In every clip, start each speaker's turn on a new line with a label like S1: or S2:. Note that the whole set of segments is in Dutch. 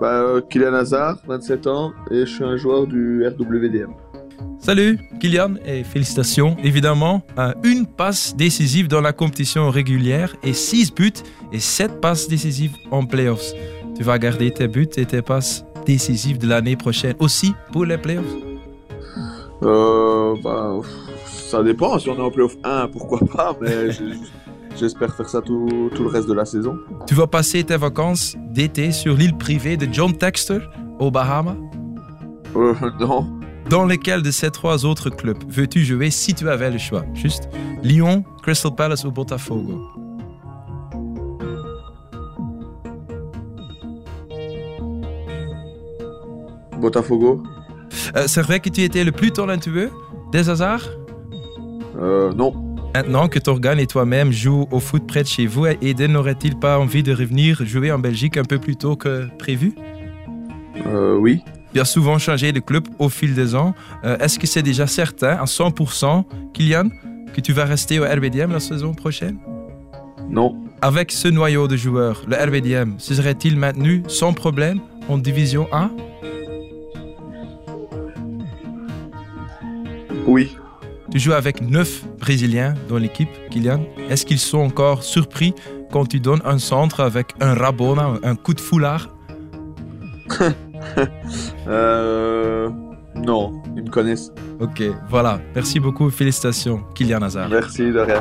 S1: Bah, Kylian Hazard, 27 ans, et je suis un joueur du RWDM.
S2: Salut Kylian et félicitations évidemment à une passe décisive dans la compétition régulière et 6 buts et 7 passes décisives en playoffs. Tu vas garder tes buts et tes passes décisives de l'année prochaine aussi pour les playoffs.
S1: Euh, bah, pff, ça dépend. Si on est en playoff 1, pourquoi pas, mais j- j'espère faire ça tout, tout le reste de la saison.
S2: Tu vas passer tes vacances d'été sur l'île privée de John Texter aux Bahamas
S1: Euh, non.
S2: Dans lesquels de ces trois autres clubs veux-tu jouer si tu avais le choix Juste Lyon, Crystal Palace ou Botafogo
S1: Botafogo
S2: Euh, C'est vrai que tu étais le plus talentueux des hasards
S1: euh, Non.
S2: Maintenant que Torgan et toi-même jouent au foot près de chez vous, Eden n'aurait-il pas envie de revenir jouer en Belgique un peu plus tôt que prévu
S1: Euh, oui.
S2: Il a souvent changé de club au fil des ans. Euh, Est-ce que c'est déjà certain, à 100%, Kylian, que tu vas rester au RBDM la saison prochaine
S1: Non.
S2: Avec ce noyau de joueurs, le RBDM, se serait-il maintenu sans problème en Division 1
S1: Oui.
S2: Tu joues avec 9 Brésiliens dans l'équipe, Kylian. Est-ce qu'ils sont encore surpris quand tu donnes un centre avec un rabona, un coup de foulard
S1: Euh, non. Ils me connaissent.
S2: Ok, voilà. Merci beaucoup. Félicitations, Kylian Hazard.
S1: Merci de rien.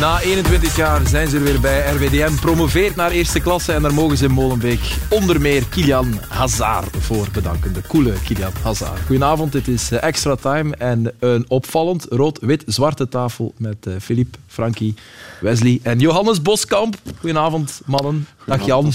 S3: Na 21 jaar zijn ze er weer bij. RWDM promoveert naar eerste klasse en daar mogen ze in Molenbeek onder meer Kilian Hazard voor bedanken. De coole Kilian Hazard. Goedenavond, dit is eh, Extra Time en een opvallend rood-wit-zwarte tafel met eh, Philippe, Frankie, Wesley en Johannes Boskamp. Goedenavond, mannen. Dag Jan.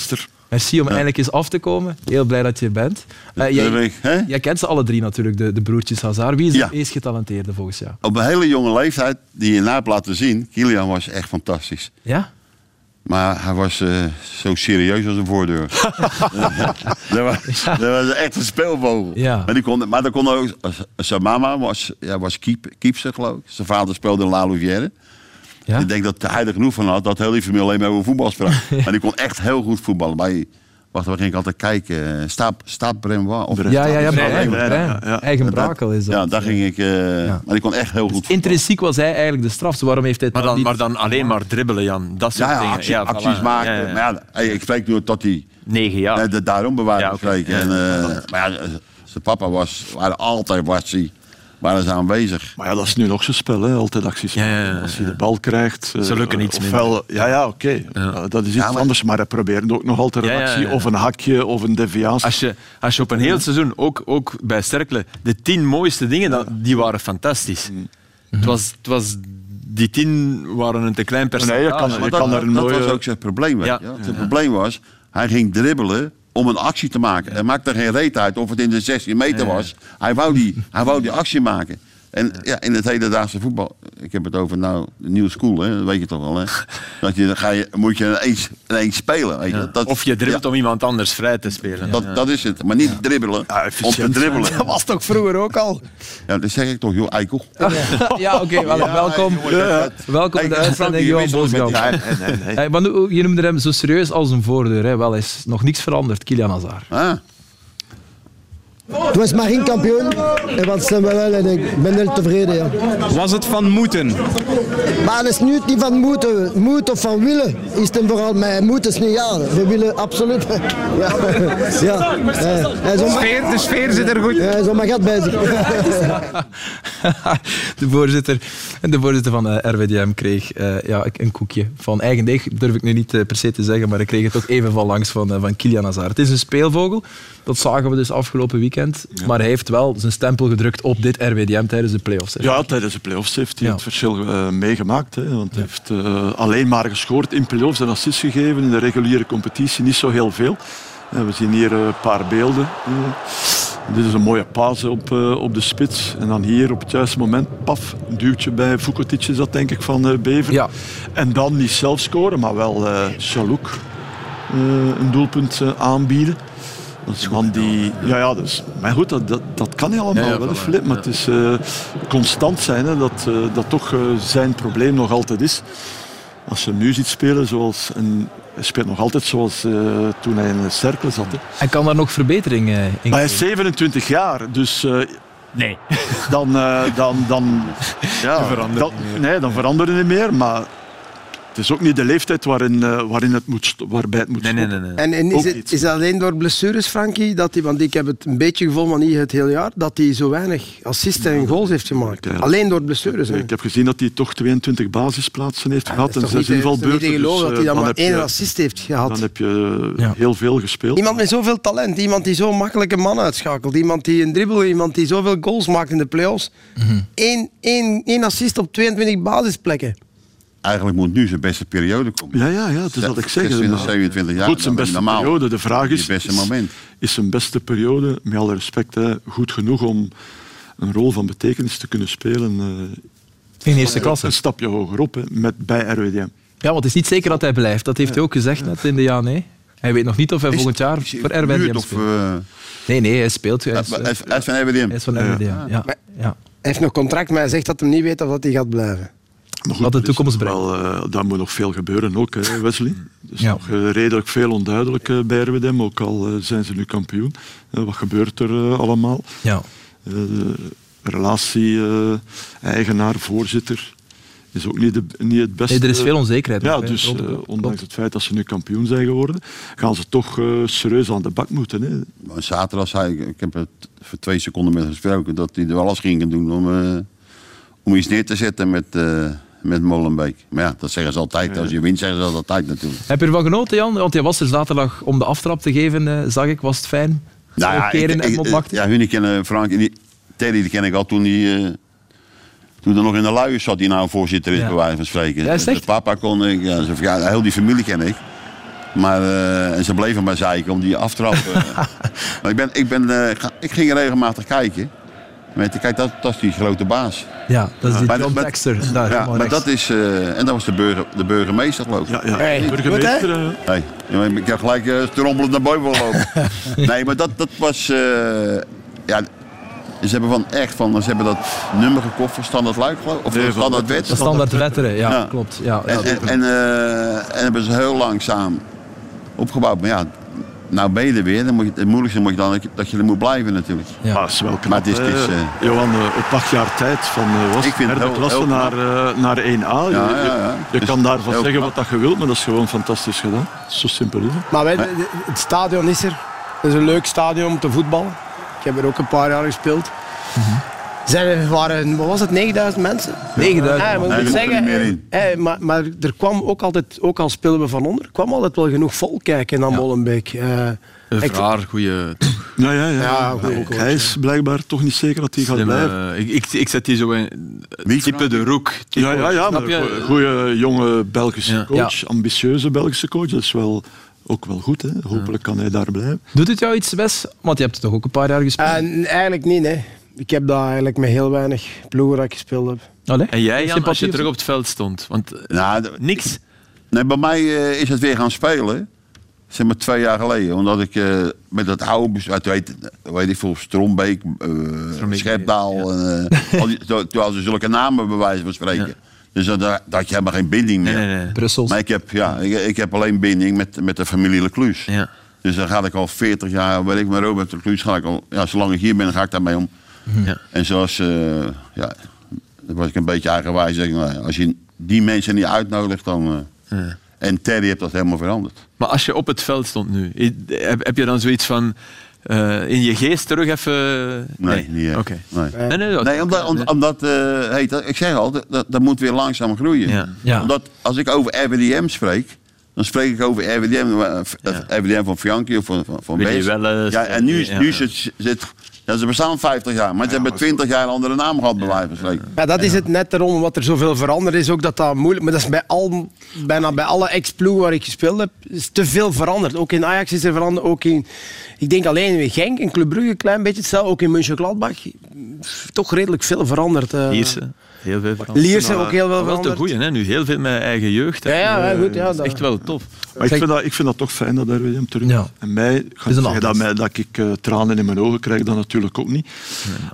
S3: Merci om eindelijk eens af te komen. Heel blij dat je er bent. Eh,
S4: Eh,
S3: jij,
S4: weet je, hè?
S3: jij kent ze alle drie natuurlijk, de, de broertjes Hazard. Wie is
S4: Ja.
S3: de meest getalenteerde volgens jou?
S4: Op een hele jonge leeftijd, die je na hebt laten zien, Kilian was echt fantastisch.
S3: Ja?
S4: Maar hij was eh, zo serieus als een voordeur. dat, was, dat was echt een speelvogel.
S3: Ja.
S4: Maar, die kon, maar dat kon ook, als- als zijn mama was, ja, was keep, keepster geloof ik. Zijn vader speelde in La Louvière.
S3: Ja?
S4: Ik denk dat hij er genoeg van had, dat heel die familie alleen maar over voetbal sprak. Maar die kon echt heel goed voetballen. Bij, wacht, waar ging ik altijd kijken? Eh, Staap, Staap Bremois. Of,
S3: Ja, ja, ja. Mijn
S4: Staap Bremois.
S3: eigen,
S5: Brein,
S3: brein.
S5: ja, ja.
S3: eigen brakel is dat.
S4: Ja, daar ging ik... eh, Maar die kon echt heel goed voetballen.
S3: Intrinsiek was hij eigenlijk de straf. Dus waarom heeft hij het
S5: Maar
S3: dan
S5: dan,
S3: niet...
S5: maar dan alleen maar dribbelen, Jan. Dat soort
S4: Ja, ja,
S5: dingen.
S4: actie-
S5: Ja,
S4: acties
S5: voilà.
S4: maken.
S5: Ja, ja.
S4: Maar ja, hey, ik spreek nu tot die...
S5: Negen jaar.
S4: eh, de- daarom bewaard
S5: Ja,
S4: ja,
S5: oké.
S4: spreken.
S5: Ja,
S4: En, eh, maar ja, zijn papa was... Waren altijd was hij... Waren ze aanwezig.
S5: Maar
S4: Maar
S5: ja,
S4: ja,
S5: dat
S4: dat
S5: is-
S4: is...
S6: is nu nog zo'n spel, hè? altijd acties.
S5: Ja, ja, ja,
S6: Als
S5: ja.
S6: je de bal krijgt. eh,
S5: Ze lukken iets
S6: ofwel- Ja, ja, oké. Eh, dat is iets
S4: Ja, maar-
S6: anders, maar hij probeert ook nog altijd een
S5: Ja, ja,
S6: actie
S5: ja.
S6: of een hakje of een deviatie.
S5: Als je, als je op een heel seizoen, ook, ook bij Sterkle, de tien mooiste dingen, dan, die waren fantastisch. Het was, het was, die tien waren een te klein percentage.
S6: Nee, je kan-
S4: Maar
S6: je
S4: dat,
S6: kan
S4: dat,
S6: daar een
S4: dat
S6: mooie-
S4: was ook zijn probleem. weet
S5: Ja.
S4: je wel. Zijn probleem was... Hij ging dribbelen om een actie te maken. Hij maakte geen reet uit of het in de 16 meter was. Hij wou die, hij wou die actie maken. En ja, in het hedendaagse voetbal, ik heb het over nou de new school, hè, dat weet je toch wel. Hè? Dat je, dan ga je, moet je ineens, ineens spelen. Weet je? Dat,
S5: Of je dribbelt
S4: ja.
S5: om iemand anders vrij te spelen.
S4: Dat, dat is het. Maar niet dribbelen.
S6: Ja,
S4: om
S6: efficiënt
S4: te dribbelen.
S3: Dat was toch vroeger ook al?
S4: Ja, dat zeg ik toch, joh, eikel.
S3: Ja, oké. wel- welkom. Welkom in de uitzending, Johan Boskamp. Hey, maar nu- Eh, je noemde hem zo serieus als een voordeur. Hè. Wel, is nog niets veranderd, Kilian Hazard.
S4: Ah,
S7: Het was maar geen kampioen. En wat zijn we wel. En ik ben heel tevreden. Ja.
S8: Was het van moeten?
S7: Maar het is nu het niet van moeten. Moet of van willen is het vooral. Maar moeten is niet ja. We willen absoluut. Ja. ja. ja. Hij is om-
S8: Sfeer, de sfeer zit er goed.
S7: ja, hij is om mijn gat bezig.
S3: de, voorzitter, de voorzitter van de RWDM kreeg eh, ja, een koekje van eigen deeg. Durf ik nu niet eh, per se te zeggen, maar ik kreeg het ook even van langs van, eh, van Kilian Hazard. Het is een speelvogel. Dat zagen we dus afgelopen weekend. bekend. Maar hij heeft wel zijn stempel gedrukt op dit RWDM tijdens de play-offs. hè.
S6: Ja, tijdens de play-offs heeft hij
S3: Ja.
S6: het verschil eh, meegemaakt. Hè, want hij heeft eh, alleen maar gescoord in play-offs en assists gegeven. In de reguliere competitie niet zo heel veel. En we zien hier eh, een paar beelden. eh. dit is een mooie paas op, eh, op de spits. En dan hier op het juiste moment, paf, een duwtje bij Vukotic is dat denk ik van eh, Bever.
S3: Ja.
S6: En dan niet zelf scoren, maar wel eh Chalouk eh, een doelpunt eh, aanbieden. Dat is een man die... Ja, ja, dus, maar goed, dat, dat, dat kan hij allemaal
S5: Ja, ja,
S6: wel,
S5: voilà,
S6: Filip. Maar
S5: ja.
S6: het is eh, constant zijn, hè, dat, eh, dat toch eh, zijn probleem nog altijd is. Als je hem nu ziet spelen, zoals... En, hij speelt nog altijd zoals eh, toen hij in de cirkel zat. hè.
S3: En kan daar nog verbetering eh, in
S6: Maar
S3: komen?
S6: hij is 27 jaar, dus... eh,
S3: Nee.
S6: Dan, eh, dan, dan, ja, dan, nee, dan veranderen niet meer, maar het is ook niet de leeftijd waarin, eh, waarin het moet, sto- waarbij het moet
S5: Nee, nee,
S6: stoppen.
S5: nee. nee.
S7: En, en
S6: Ook
S7: is,
S6: niet.
S7: het, is dat alleen door blessures, Frankie? Dat hij, want ik heb het een beetje gevoel, maar niet het hele jaar, dat hij zo weinig assisten en goals heeft gemaakt.
S6: Ja.
S7: Alleen door blesures. hè.
S6: Ik heb gezien dat hij toch 22 basisplaatsen heeft
S7: Dat
S6: gehad en
S7: is toch niet
S6: zes
S7: te-
S6: invalbeurten.
S7: niet te geloven
S6: dus,
S7: dat
S6: eh,
S7: hij dan, maar
S6: heb je-
S7: één assist heeft gehad.
S6: Dan heb je eh,
S3: Ja.
S6: heel veel gespeeld.
S7: Iemand met zoveel talent, iemand die zo makkelijk een man uitschakelt, iemand die een dribbel, iemand die zoveel goals maakt in de play-offs.
S4: Mhm.
S7: Eén, één, één assist op 22 basisplekken.
S4: Eigenlijk moet nu zijn beste periode komen.
S6: Ja, ja, ja, dat is wat ik zeg.
S4: 26, 27 jaar.
S6: Goed, zijn
S4: dat is
S6: beste
S4: normaal.
S6: periode. De vraag is,
S4: Je beste moment.
S6: is zijn beste periode, met alle respect, hè, goed genoeg om een rol van betekenis te kunnen spelen eh,
S3: In eerste klasse.
S6: een stapje hoger op hè, met, bij RWDM.
S3: Ja, want het is niet zeker dat hij blijft. Dat heeft hij ook gezegd net in de ja nee. Hij weet nog niet of hij volgend jaar
S4: Is hij
S3: voor
S4: verhuurd
S3: RWDM
S4: Of,
S3: speelt. Nee, nee, hij speelt. Hij is,
S4: eh,
S3: eh,
S4: hij is- hij is van RWDM.
S3: hij is van RWDM. Ja. Ja.
S7: Maar- Hij heeft nog contract, maar hij zegt dat hij niet weet of dat hij gaat blijven.
S6: Maar
S3: Wat de
S6: er is
S3: toekomst
S6: nog wel, eh, daar moet nog veel gebeuren ook, hè, Wesley. Dus
S3: Ja.
S6: nog eh, redelijk veel onduidelijk eh, bij RWDM, ook al eh, zijn ze nu kampioen. Eh, wat gebeurt er eh, allemaal?
S3: ja.
S6: Eh, Relatie-eigenaar, voorzitter, is ook niet, de, niet het beste.
S3: Nee, er is veel onzekerheid.
S6: Dus, eh, Ja,
S3: nog, hè,
S6: dus
S3: rond de
S6: eh,
S3: klok.
S6: ondanks het feit dat ze nu kampioen zijn geworden, gaan ze toch eh, serieus aan de bak moeten. Hè.
S4: Maar Zaterdag zei ik, ik heb het voor twee seconden met hem gesproken, dat hij er wel alles ging doen om, eh, om iets neer te zetten met, eh, met Molenbeek. Maar ja, dat zeggen ze altijd. Als je wint, zeggen ze dat altijd natuurlijk.
S3: Heb je ervan genoten, Jan? Want jij was er zaterdag om de aftrap te geven, eh, zag ik. Was het fijn?
S4: Nou ja,
S3: Keer in
S4: ik- ik-
S3: Egmond maakte.
S4: ja hun kennen Frank en die, Terry die ken ik al toen hij eh, toen er nog in de luiers zat, die nou voorzitter is,
S3: Ja.
S4: bij wijze van spreken.
S3: Ja, is het
S4: Zijn
S3: echt?
S4: papa kon ik, ja, zijn verjaardag, heel die familie ken ik. Maar, eh, en ze bleven maar zeiken om die aftrap. eh. maar ik, ben, ik, ben, eh, ga- ik ging regelmatig kijken. Met, kijk, dat, dat is die grote baas.
S3: Ja, dat is die
S4: Maar
S3: John
S4: dat- maar-
S3: Texter. Daar,
S4: ja,
S3: helemaal
S4: maar
S3: rechts.
S4: dat is, eh, en dat was de, burger, de burgemeester, geloof ik.
S6: Ja, ja.
S7: Hey,
S6: burgemeester.
S7: goed,
S6: eh,
S4: Nee, ik heb gelijk uh, strommelend naar boven gelopen. nee, maar dat, dat was... eh, ja, ze hebben van echt van... Ze hebben dat nummer gekocht voor standaard luik, geloof ik. Of voor standaard wet.
S3: De standaard wetteren, ja,
S4: Ja.
S3: klopt. Ja, ja,
S4: En, en, en, eh, en hebben ze heel langzaam opgebouwd. Maar ja, nou ben je er weer. Dan moet je, het moeilijkste moet je dan dat je- dat je er moet blijven natuurlijk.
S3: Ja.
S6: Maar het is wel knap,
S4: Maar het is- het is,
S6: hè.
S4: eh,
S6: Johan, eh, op acht jaar tijd van eh was
S4: Ik vind het
S6: derde
S4: heel-
S6: klasse
S4: heel knap.
S6: naar, eh, naar 1A.
S4: Ja,
S6: Je-
S4: ja, ja.
S6: Je, je
S4: Dus
S6: kan daarvan
S4: heel
S6: zeggen
S4: knap.
S6: wat dat je wilt, maar dat is gewoon fantastisch gedaan. Zo simpel is het.
S7: Maar wij, de- de- het stadion is er. Het is een leuk stadion om te voetballen. Ik heb er ook een paar jaar gespeeld.
S4: Mhm.
S7: Zijn we waren, wat was het, 9000 mensen?
S3: 9000
S7: Ja,
S4: Nee,
S7: maar ik moet
S4: er komt er
S7: zeggen,
S4: niet meer in.
S7: eh, eh, maar, maar er kwam ook altijd, ook al spelen we van onder, kwam altijd wel genoeg volk kijken naar Molenbeek. Eh,
S5: Een
S7: ik-
S5: vraag, goede.
S6: Ja, ja, ja.
S7: Ja,
S6: Maar
S7: goeie
S6: ook
S7: coach,
S6: hij is blijkbaar toch niet zeker dat hij gaat blijven.
S5: Ik, ik, ik zet die zo in. Type de roek.
S6: Ja, ja, ja.
S5: Snap
S6: maar een goe-
S5: je?
S6: goeie eh, jonge Belgische
S5: Ja.
S6: coach, ambitieuze Belgische coach. Dat is wel ook wel goed. Hè. Hopelijk kan hij daar blijven.
S3: Doet het jou iets, Wes? Want je hebt het toch ook een paar jaar gespeeld?
S7: en eigenlijk niet, hè. Ik heb daar eigenlijk met heel weinig ploegen dat ik gespeeld heb.
S3: Allee?
S5: En jij, Jan, als je
S3: Sympathie
S5: terug
S3: of
S5: op het veld stond. Want eh,
S4: Nou, d-
S5: niks.
S4: Nee, bij mij eh, is het weer gaan spelen. Zeg maar twee jaar geleden. Omdat ik eh, met dat oude bestuur, uit, weet, eh, weet ik veel, Strombeek, eh, Schepdaal. en, eh, al die- Toen toen hadden ze zulke namen bij wijze van spreken. Dus dan, daar, daar had je helemaal geen binding meer.
S5: Nee, nee, nee.
S3: Brussel.
S4: Maar ik heb, ja, ik, ik heb alleen binding met, met de familie Leclus.
S5: Ja.
S4: Dus dan ga ik al 40 jaar, weet ik met Robert Leclus, ga ik al, ja, zolang ik hier ben, ga ik daarmee om.
S5: Ja.
S4: En zoals, eh, ja, dan was ik een beetje eigenwijs. Zeg, ik, nou, als je die mensen niet uitnodigt, dan... eh,
S5: Ja.
S4: En Terry heeft dat helemaal veranderd.
S5: Maar als je op het veld stond nu, i- heb, heb je dan zoiets van eh, in je geest terug even.
S4: Nee, niet echt.
S5: Oké.
S4: Nee.
S5: Nee, nee, dat-
S4: Nee, omdat, om- omdat eh, hey, dat, ik zeg al, dat, dat dat moet weer langzaam groeien.
S5: Ja.
S3: Ja.
S4: Omdat als ik over RWDM spreek, Dan spreek ik over RWDM, maar, eh, RWDM van Fianchi of van, van, van
S5: Willy
S4: Bees.
S5: Welles.
S4: ja, en nu, is-
S5: Ja.
S4: nu zit... zit ja, ze bestaan 50 jaar, maar ze hebben 20 jaar een andere naam gehad, bij wijze van spreken.
S7: Ja, dat is het net daarom, wat er zoveel veranderd is, ook dat dat moeilijk... Maar dat is bij al, bijna bij alle ex-ploegen waar ik gespeeld heb, is te veel veranderd. Ook in Ajax is er veranderd, ook in... Ik denk alleen in Genk, in Club Brugge een klein beetje hetzelfde, ook in Mönchengladbach. Toch redelijk veel veranderd. eh.
S5: Lierse, heel veel veranderd.
S7: Lierse ook heel veel
S5: Maar Wel te
S7: veranderd.
S5: goeie, hè? nu heel veel met eigen jeugd. hè.
S7: Ja, ja, ja, goed, ja,
S5: dat is
S7: dat-
S5: echt wel tof.
S6: Maar ik vind, dat, ik vind dat toch fijn dat RWDM terug is.
S9: Ja.
S6: En mij, ik ga
S9: is
S6: niet
S9: een
S6: zeggen dat,
S9: antwoord.
S6: mij, dat ik eh, tranen in mijn ogen krijg, dat natuurlijk ook niet.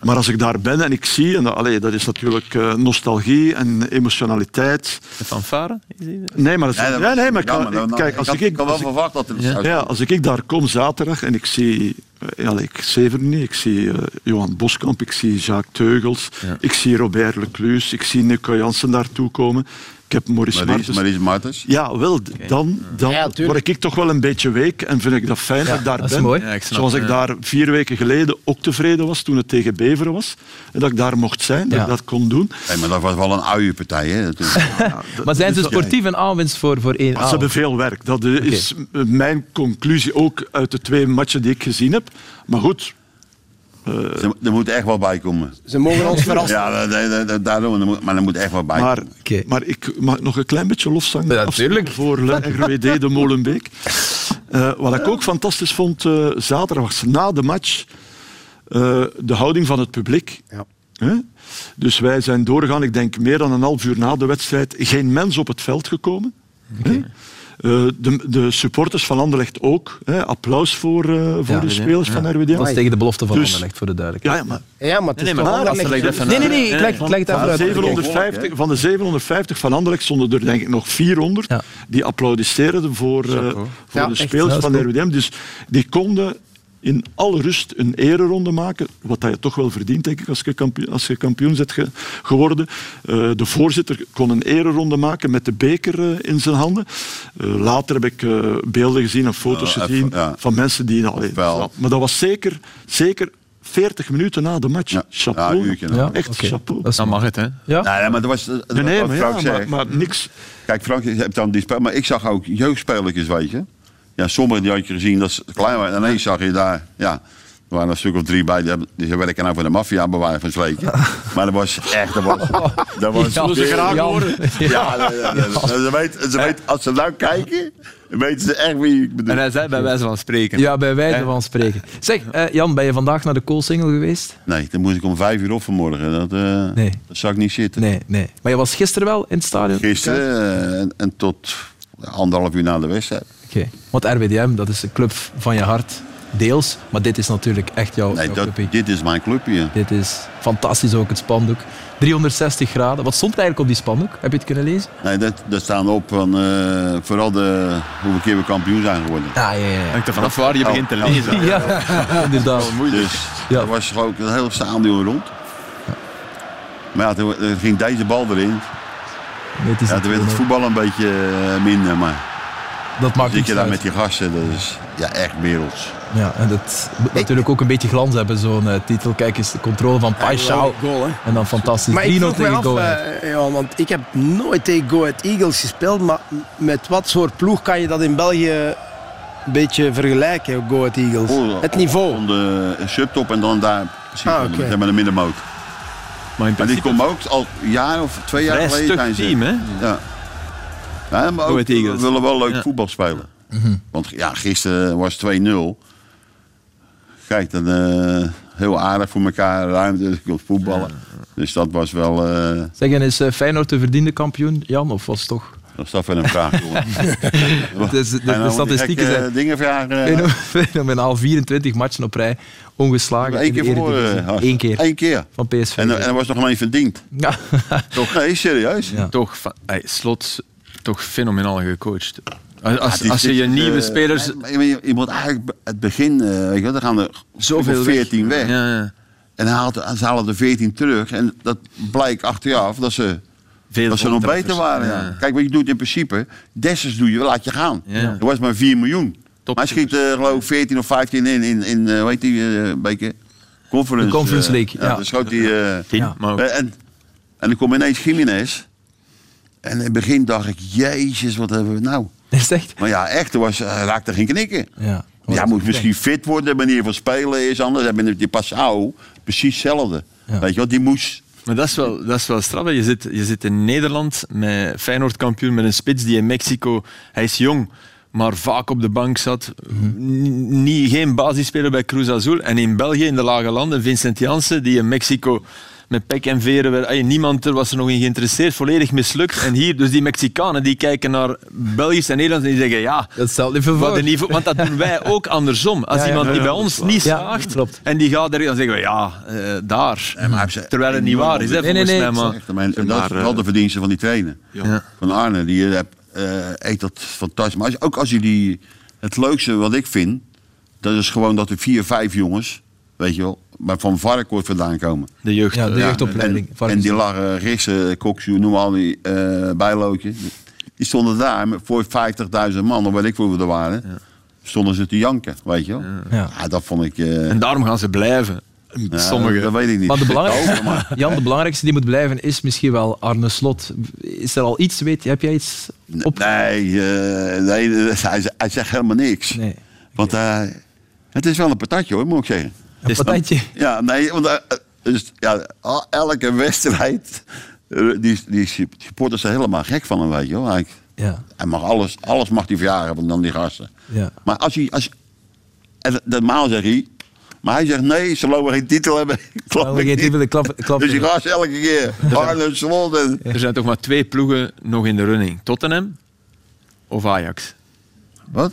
S6: Maar als ik daar ben en ik zie, en dat, allee, dat is natuurlijk eh, nostalgie en emotionaliteit.
S5: De fanfare? is die-
S6: Nee, maar, dat is-
S4: Nee, dat
S6: nee,
S4: was-
S6: nee, maar ik,
S4: ja,
S6: kan-
S4: maar dan-
S6: kijk, als
S4: had-
S6: ik, ik,
S4: had
S6: als
S4: wel
S6: ik-
S4: verwacht dat het zou
S6: ja, als ik daar kom zaterdag en ik zie, eh, allee, ik zever niet, ik zie eh, Johan Boskamp, ik zie Jacques Teugels, ik zie Robert Leclus, ik zie Nico Jansen daartoe komen. Ik heb Maurice
S4: Maries,
S6: Martens.
S4: Maries Martens.
S6: Ja, wel, d- dan, dan
S7: Ja, tuurlijk.
S6: word ik toch wel een beetje week en vind ik dat fijn dat ik daar
S9: dat is
S6: ben.
S9: mooi.
S5: Ja, ik snap
S6: Zoals ik
S5: het,
S6: daar vier weken geleden ook tevreden was toen het tegen Beveren was. En dat ik daar mocht zijn, dat
S9: Ja.
S6: ik dat kon doen.
S4: Nee, maar dat was wel een uienpartij, hè. Dat is-
S9: Maar zijn ze sportief Ah, een aanwinst voor, voor één
S6: Maar Dus- Ah, Ze hebben veel werk. Dat eh, is eh, mijn conclusie ook uit de twee matchen die ik gezien heb. Maar goed,
S4: ze- er moet echt wel bij komen.
S7: Ze mogen ons verrassen.
S4: Ja, dat- dat- dat- dat- daarom, er moet- maar er moet echt wel bij
S6: maar,
S4: komen.
S9: Oké.
S6: maar ik mag nog een klein beetje lofzang
S9: Ja,
S6: afsteken
S9: tuurlijk.
S6: voor Le RWD de Molenbeek. Eh, wat ik ook fantastisch vond eh, zaterdag was na de match eh, de houding van het publiek. Hè? Dus wij zijn doorgegaan, ik denk meer dan een half uur na de wedstrijd, geen mens op het veld gekomen. Hè? Eh, de, de supporters van Anderlecht ook. Hè? Applaus voor, eh, voor de spelers van RWD.
S7: Dat is
S9: tegen de belofte van
S6: Dus-
S9: Anderlecht, voor de duidelijkheid.
S6: Ja, ja, maar
S7: Ja, maar het is
S5: Nee, nee,
S7: toch
S5: maar
S7: wel
S5: als er
S7: een-
S5: lijkt even-
S9: Nee, nee, nee, ik leg, ik leg het
S6: Van
S9: even
S6: de,
S9: uit.
S6: 750, van de 750 van Anderlecht stonden er denk ik nog 400
S9: Ja.
S6: die applaudisseerden voor, eh, voor
S7: Ja,
S6: de
S7: echt.
S6: spelers
S9: Ja, dat
S6: van
S9: is
S6: de RWDM. Dus die konden in alle rust een ereronde maken, wat dat je toch wel verdient, denk ik, als je kampioen, als je kampioen bent ge- geworden. Eh, de voorzitter kon een ereronde maken met de beker eh, in zijn handen. Eh, later heb ik eh, beelden gezien en foto's
S4: Ja, Eh, even-
S6: gezien
S4: ja.
S6: van mensen die... Nou, allee,
S4: Wel.
S6: maar dat was zeker, zeker 40 minuten na de match.
S4: Ja. Ja,
S6: Chapeau.
S4: een uurtje na. Ja,
S6: Echt
S9: oké.
S6: chapeau.
S9: Dat is
S5: Dan mag het, hè?
S9: Ja?
S4: Nee, nee, maar dat was, dat was
S6: Nee, nee,
S4: wat
S6: maar, ja,
S4: Frank
S6: maar,
S4: zegt.
S6: maar niks.
S4: Kijk, Frank je hebt dan die spel, maar ik zag ook jeugdspelertjes, weet je. Ja, sommigen die had je gezien dat ze klein waren. En ineens zag je daar, ja, er waren een stuk of drie bij. Die, hebben- die ze werken nou voor de maffia, bij wijze van spreken. Maar dat was echt, dat was... Dat was
S9: Zullen ze graag
S4: ja,
S9: horen?
S4: Ja, ja, ja, ja. Ze weten- ze weten- als ze nou kijken, weten ze echt wie ik bedoel.
S5: En hij zei bij wijze van spreken.
S9: Ja, bij wijze van spreken. Zeg, eh, Jan, ben je vandaag naar de Koolsingel geweest?
S4: Nee, dan moest ik om vijf uur op vanmorgen. Dat, eh
S9: Nee.
S4: dat zou ik niet zitten.
S9: Nee, nee. Maar je was gisteren wel in het stadion?
S4: Gisteren eh, en, en tot anderhalf uur na de wedstrijd.
S9: Oké. Want RWDM, dat is de club van je hart, deels. Maar dit is natuurlijk echt jouw,
S4: Nee,
S9: jouw
S4: dat,
S9: clubje.
S4: dit is mijn clubje.
S9: Dit is fantastisch ook, het spandoek. 360 graden. Wat stond er eigenlijk op die spandoek? Heb je het kunnen lezen?
S4: Nee, dat, dat staan op van eh, vooral de, hoeveel keer we kampioen zijn geworden.
S9: Ja, ja, ja.
S5: Hangt er vanaf waar je begint te lezen.
S9: Ja, inderdaad.
S4: Dus
S9: Ja.
S4: er was gewoon een heel stadion rond. Maar ja, toen toen ging deze bal erin.
S9: Nee, het is
S4: Ja, toen werd
S9: natuurlijk-
S4: het voetbal een beetje eh, minder. Maar
S9: dat maakt
S4: zit
S9: niet
S4: je daar met
S9: uit.
S4: die gasten, dat is ja, echt werelds.
S9: Ja, en dat moet natuurlijk ook een beetje glans hebben, zo'n eh, titel. Kijk eens, de controle van Paixão.
S7: Goal, hè.
S9: En dan fantastisch. 3-0
S7: Maar ik vroeg me
S9: tegen
S7: af,
S9: Go Ahead.
S7: eh, ja, want ik heb nooit tegen Go Ahead Eagles gespeeld, maar met wat soort ploeg kan je dat in België een beetje vergelijken, Go Ahead Eagles?
S4: Oh,
S7: het niveau.
S4: Van de subtop en dan daar precies
S7: Ah,
S4: onder.
S7: oké.
S4: Zeg maar de middenmoot.
S5: Maar in
S4: Maar die
S5: principe
S4: komen ook al een jaar of twee jaar
S5: een
S4: geleden zijn
S5: stuk
S4: ze.
S5: team, hè?
S4: Ja. Ja, maar
S5: Go
S4: ook,
S5: Ahead
S4: we
S5: Eagles.
S4: willen wel leuk
S5: Ja.
S4: voetbal spelen. Want ja, gisteren was 2-0. Kijk, dan eh, heel aardig voor elkaar, ruimte op voetballen. Dus dat was wel... eh
S9: Zeg, en is eh, Feyenoord de verdiende kampioen, Jan? Of was het toch...
S4: dat is dat weer een vraag, jongen.
S9: is- de-
S4: Ga je nou
S9: de
S4: van die
S9: statistieken
S4: gekke
S9: zijn-
S4: dingen vragen. eh?
S9: Feyenoord- Fenomenaal, 24 matchen op rij, ongeslagen.
S4: Eén keer
S9: in de Eredivisie.
S4: verloren. Hans.
S9: Eén keer.
S4: Eén keer.
S9: Van PSV.
S4: eh, En, eh, en er was nog maar één verdiend.
S9: ja.
S4: Toch? Nee, serieus.
S9: Ja.
S5: toch, fa- ey, slot, toch fenomenaal gecoacht. Als, als,
S4: Ja, die
S5: als je
S4: zit,
S5: je nieuwe
S4: eh,
S5: spelers...
S4: nee, maar Je, je moet eigenlijk be- het begin, eh, weet je, wel, dan gaan er
S5: Zoveel
S4: zoveel 14 weg.
S5: Ja, ja.
S4: En haalt, ze halen er 14 terug. En dat blijkt achteraf dat ze,
S5: Veel
S4: dat ze nog
S5: contracters.
S4: beter waren. ja.
S5: Ja.
S4: Kijk, wat je doet in principe, Dessers doe je, laat je gaan.
S5: Ja.
S4: Er was maar 4 miljoen.
S5: Top
S4: maar hij schiet eh, geloof ik 14 of 15 in, in, in eh, hoe heet die, eh, beker? Conference,
S9: De Conference
S4: eh,
S9: League, ja.
S4: dan schoot die, eh,
S5: Tien,
S9: Ja.
S5: maar ook-
S4: eh, En, en dan komt ineens Jiménez. En in het begin dacht ik, jezus, wat hebben we nou?
S2: Is echt?
S4: Maar ja, echt, er was, hij raakte geen knikken.
S2: Ja.
S4: Ja, moet misschien fit worden, manier van spelen is anders. En met die Passau, precies hetzelfde.
S2: Ja.
S4: Weet je wel, die moest...
S5: Maar dat is wel, dat is wel straf. hè. Je zit, je zit in Nederland met Feyenoord kampioen, met een spits die in Mexico... Hij is jong, maar vaak op de bank zat. N- niet, geen basisspeler bij Cruz Azul. En in België, in de lage landen, Vincent Janssen, die in Mexico met pek en veren... werd- ey, niemand er was er nog in geïnteresseerd, volledig mislukt. En hier, dus die Mexicanen, die kijken naar Belgisch en Nederlands en die zeggen... Ja,
S2: Dat stelt niet veel
S5: wat
S2: voor.
S5: een niveau, want dat doen wij ook andersom. Als
S2: Ja, ja,
S5: iemand die bij ons niet
S2: Ja,
S5: slaagt
S2: klopt.
S5: en die gaat er, dan zeggen we ja, eh, daar.
S4: maar hij heeft ze
S5: Terwijl het niet waar is, hè,
S2: Nee, nee,
S5: volgens
S2: nee,
S5: mij. Maar...
S4: Echt, maar, en dat is
S6: Maar, eh,
S4: wel de verdienste van die trainer.
S5: Ja.
S4: Van Arne, die eh, eh, eet dat fantastisch. Maar als, ook als je die... Het leukste wat ik vind, dat is gewoon dat er vier, vijf jongens, weet je wel, maar van Varkenoord vandaan komen.
S5: De jeugd.
S2: Ja, de
S5: eh,
S2: jeugdopleiding.
S4: En, en die lagen Rissen, Koksu, noem al die eh bijlootje. Die stonden daar met- voor 50.000 man, of weet ik hoeveel er waren. Stonden ze te janken, weet je wel.
S2: Ja.
S4: Ja. dat vond ik... eh,
S5: en daarom gaan ze blijven.
S4: ja,
S5: Sommigen.
S4: Dat weet ik niet.
S2: Maar de belangrijkste,
S4: Oh, maar-
S2: Jan, de belangrijkste die moet blijven is misschien wel Arne Slot. Is er al iets, weet je, heb jij iets op?
S4: Nee, eh, nee hij, zegt- hij zegt helemaal niks.
S2: Nee.
S4: Want eh, het is wel een patatje hoor, moet ik zeggen.
S2: Een patatje.
S4: Ja, nee, want eh, eh, dus, ja, al- elke wedstrijd... eh, Die, die supporters zijn helemaal gek van hem, weet je wel. Hij,
S2: Ja,
S4: hij mag alles, alles mag hij verjagen van dan die gasten.
S2: ja.
S4: Maar als hij. Als, en dat maal zegt hij. Maar hij zegt nee, ze lopen geen titel hebben. Klap
S2: Wel,
S4: ik
S2: geen
S4: niet.
S2: dubbele klap, klap.
S4: Dus die gast elke keer. Arne Slot. en-
S5: Er zijn toch maar twee ploegen nog in de running. Tottenham of Ajax?
S4: Wat?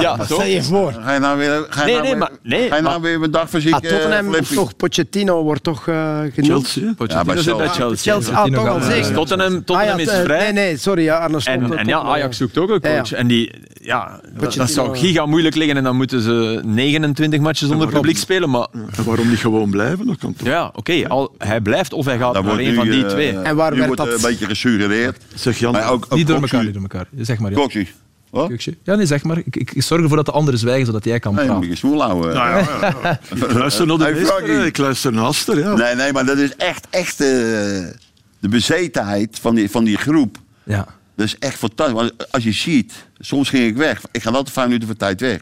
S5: Ja, toch?
S7: Stel je voor.
S5: Ah,
S4: Ga je nou weer. Ga je
S5: Nee,
S4: nou
S5: nee,
S4: weer,
S5: maar- nee,
S4: ga je nou
S5: maar-
S4: weer mijn dag fysiek.
S7: Ah, Tottenham
S4: eh,
S7: of toch, Pochettino wordt toch eh genoemd.
S6: Chelsea. hè?
S5: Pochettino
S4: bij
S5: zit
S4: Chelsea.
S5: bij Chelsea.
S7: Chelsea, ah, toch al
S2: Ja,
S7: zeker.
S5: Dus Tottenham, Tottenham
S7: Ah, ja,
S5: is
S7: eh,
S5: vrij.
S7: Nee, nee, sorry, ja, Arne Slot.
S5: En, en ja, Ajax zoekt ook een
S7: Ja, ja.
S5: coach. En die, ja, dat, dat zou
S7: Pochettino.
S5: giga moeilijk liggen. En dan moeten ze 29 matches zonder
S6: waarom?
S5: publiek spelen. Maar
S6: En waarom niet gewoon blijven? Dat kan toch?
S5: ja, oké, al- hij blijft of hij gaat
S4: Daar
S5: naar
S4: wordt
S5: een
S4: nu,
S5: van die
S4: eh,
S5: twee.
S7: En waar
S4: nu
S7: werd
S4: wordt
S7: dat-
S4: eh, een beetje gesuggereerd.
S6: Zeg Jan,
S4: Maar ook, ook
S2: Niet door
S4: Koksu.
S2: elkaar, niet door elkaar. Zeg maar, ja.
S4: Koksu. Wat?
S2: Kuksje. Ja, nee, zeg maar. Ik, ik ik zorg ervoor dat de anderen zwijgen, zodat jij kan
S4: Nee, moet
S2: praten.
S4: je smoel houden.
S6: Nou ja, ja, ja. Ik luister naar de
S4: Hey,
S6: meester,
S4: Frankie.
S6: hè. Ik luister naar Aster. Ja.
S4: Nee, nee, maar dat is echt, echt eh, de bezetenheid van die, van die groep.
S2: Ja.
S4: Dat is echt fantastisch. Want als je ziet, soms ging ik weg. Ik ga altijd vijf minuten voor tijd weg.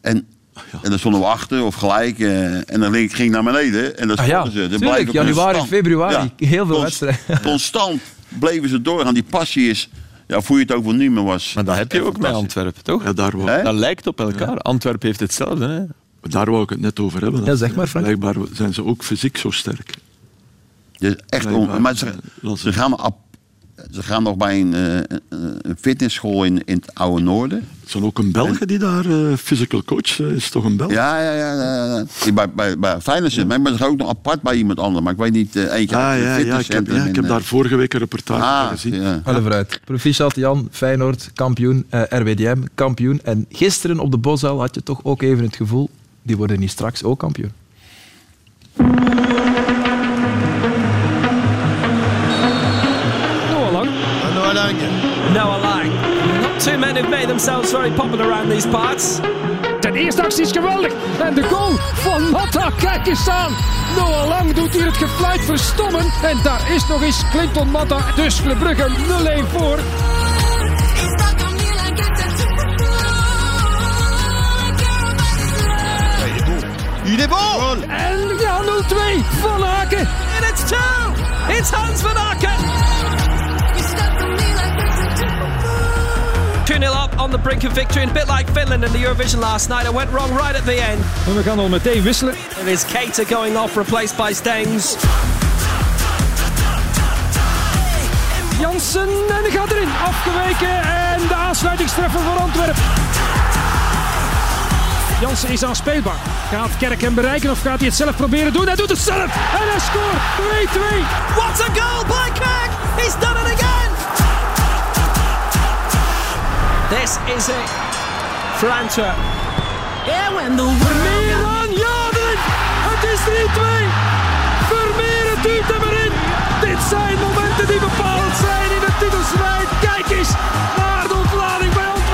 S4: En,
S2: Ah,
S4: en dan stonden we achter of gelijk. eh, en dan ging ik naar beneden. En dan
S2: Ah ja,
S4: stonden ze. Dan
S2: tuurlijk,
S4: blijven
S2: januari,
S4: constant.
S2: februari, heel veel
S4: cons-
S2: wedstrijden.
S4: Constant bleven ze doorgaan. Die passie is, ja, voel je het ook wel niet meer was.
S5: Maar dat heb je ook bij Antwerpen, toch?
S6: Ja, daar, wou,
S4: Hè?
S5: Dat lijkt op elkaar. Antwerpen heeft hetzelfde. Hè?
S6: daar wou ik het net over hebben.
S2: Ja, zeg maar, Frank.
S6: Blijkbaar zijn ze ook fysiek zo sterk.
S4: Dat is echt
S6: Blijkbaar.
S4: on- maar ze,
S6: Dat is-
S4: ze, gaan ap- ze gaan nog bij een, eh, een- een fitnessschool in, in het Oude Noorden.
S6: Het zijn ook een Belgen die daar eh, physical coach eh, is, toch een Belg?
S4: Ja, ja, ja. ja, ja. Die Bij, bij, bij Feyenoord zit. Maar dat is ook nog apart bij iemand anders. Maar ik weet niet, eh, eentje
S6: Ah,
S4: uit
S6: ja,
S4: een
S6: ja, ik, heb,
S4: fitnesscentrum
S6: ja, ik
S4: in,
S6: heb
S4: eh,
S6: daar vorige week een reportage van
S4: Ah,
S6: gezien.
S4: ja.
S2: Alle vooruit. Proficiat Jan, Feyenoord, kampioen, eh, RWDM, kampioen. En gisteren op de Bosuil had je toch ook even het gevoel, die worden niet straks ook kampioen.
S10: Noah Long. Noah Lang. Not two men who've made themselves very popular around these parts.
S11: De eerste actie is geweldig. En de goal van Matta, kijk eens aan. Noah Lang doet hier het gefluit verstommen. En daar is nog eens Clinton Matta. Dus Le Brugge 0-1 voor. En ja, 0-2. Van Haken.
S10: And it's two! It's Hans van Aken! 2 0 up on the brink of victory, and a bit like Finland in the Eurovision last night, it went wrong right at the end.
S12: En we gaan al meteen wisselen.
S10: It is Keita going off, replaced by Stengs.
S11: Jansen en die gaat erin. Afgeweken en de aansluitingstreffer voor Antwerpen. Jansen is aanspeelbaar. Gaat Kerk hem bereiken of gaat hij het zelf proberen doen? Hij doet het zelf en hij scoort 2-2.
S10: What a goal by Kirk! He's done it again! This is it for Antwerp. Yeah, when the
S11: Vermeer aan Jaderen. Het is 3-2. Vermeer het duwt hem erin. Dit zijn momenten die bepalend zijn in de titelstrijd. Kijk eens naar de ontlading bij Antwerpen.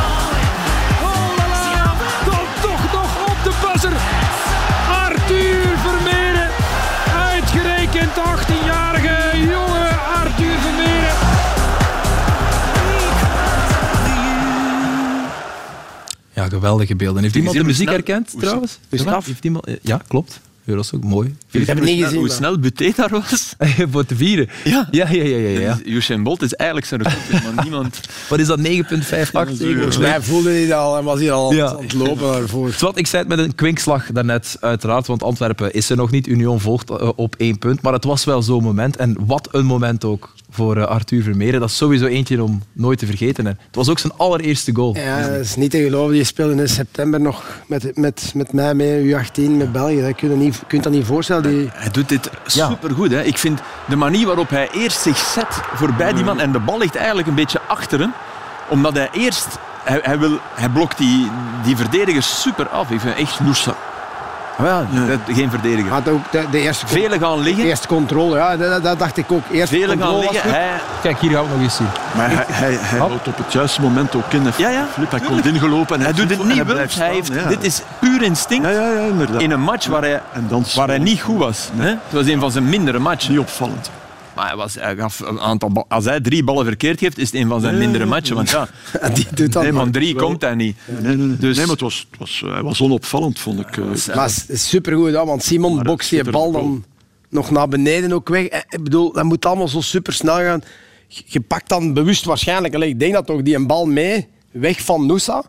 S11: Oh la la. Komt toch nog op de buzzer. Arthur Vermeer. Uitgerekend 18 jaar.
S9: geweldige beelden. Heeft iemand de
S5: gezien hoe
S9: muziek
S5: snel-
S9: herkend
S5: hoe
S9: trouwens?
S5: snel- hoe
S9: Ja, Heeft iemand, eh, ja, klopt. Eurosong, mooi.
S5: Weet je
S7: heb het
S5: hoe
S7: niet
S5: snel-
S7: gezien,
S5: Hoe
S7: maar-
S5: snel Buté daar was?
S9: Voor te vieren.
S5: Ja.
S9: Ja, ja, ja, ja. ja.
S5: Dus Usain Bolt is eigenlijk zijn record, maar niemand...
S9: Wat is dat? 9,58?
S7: Volgens mij voelde hij dat al en was hij al
S9: Ja.
S7: aan het lopen daarvoor.
S9: Zwat, ik zei het met een kwinkslag daarnet, uiteraard, want Antwerpen is er nog niet. Union volgt eh, op één punt. Maar het was wel zo'n moment. En wat een moment ook voor eh, Arthur Vermeeren. Dat is sowieso eentje om nooit te vergeten. Hè. Het was ook zijn allereerste goal.
S7: Ja, dat is niet te geloven. Je speelde in september nog met, met, met mij mee, U18, met België. Dat kun je niet, kunt dat niet voorstellen. Die,
S5: Hij doet dit supergoed. Hè. Ik vind de manier waarop hij eerst zich zet voorbij die
S9: Mm.
S5: man en de bal ligt eigenlijk een beetje achter hem, omdat hij eerst... Hij, hij, wil, hij blokt die, die Ah, verdediger super af. Ik vind echt...
S6: Moussa.
S5: Ja, dat- geen verdediger.
S7: had ook de, de eerste, con-
S5: Velen gaan
S7: de
S5: liggen.
S7: eerste controle. Ja, dat, dat- dat dacht ik ook. Eerste
S5: Velen gaan
S7: controle was
S5: liggen.
S7: goed.
S5: Hij,
S9: Kijk, hier gaan we het nog eens zien.
S6: Maar hij, hij, hij houdt op het juiste moment ook in. Hij
S5: Ja, ja,
S6: Flip, hij komt
S5: tuurlijk.
S6: ingelopen en
S5: hij
S6: hij,
S5: doet het
S6: flip- en
S5: niet wild.
S6: hij blijft
S5: Hij
S6: staan,
S5: heeft,
S6: ja.
S5: Dit is puur instinct
S6: Ja, ja, ja, inderdaad.
S5: in een match waar hij,
S6: en dan
S5: waar hij niet goed was. Hè? Het was een van zijn mindere matchen.
S6: niet opvallend.
S5: Maar hij, was, hij gaf een aantal bal- Als hij drie ballen verkeerd geeft, is het een van zijn mindere matchen. Want ja,
S7: Die doet dat.
S5: nee, van drie komt hij niet.
S6: Nee, nee, nee.
S5: Dus-
S6: nee maar het was, het was, eh, hij was onopvallend, vond ik. eh.
S7: Maar het is supergoed, hè, want Simon
S6: Maar
S7: bokst die
S6: super
S7: bal dan
S6: goal.
S7: nog naar beneden ook weg. Eh, Ik bedoel, dat moet allemaal zo super snel gaan. Je- Je pakt dan bewust waarschijnlijk, allee, ik denk dat toch die een bal mee, weg van Noosa.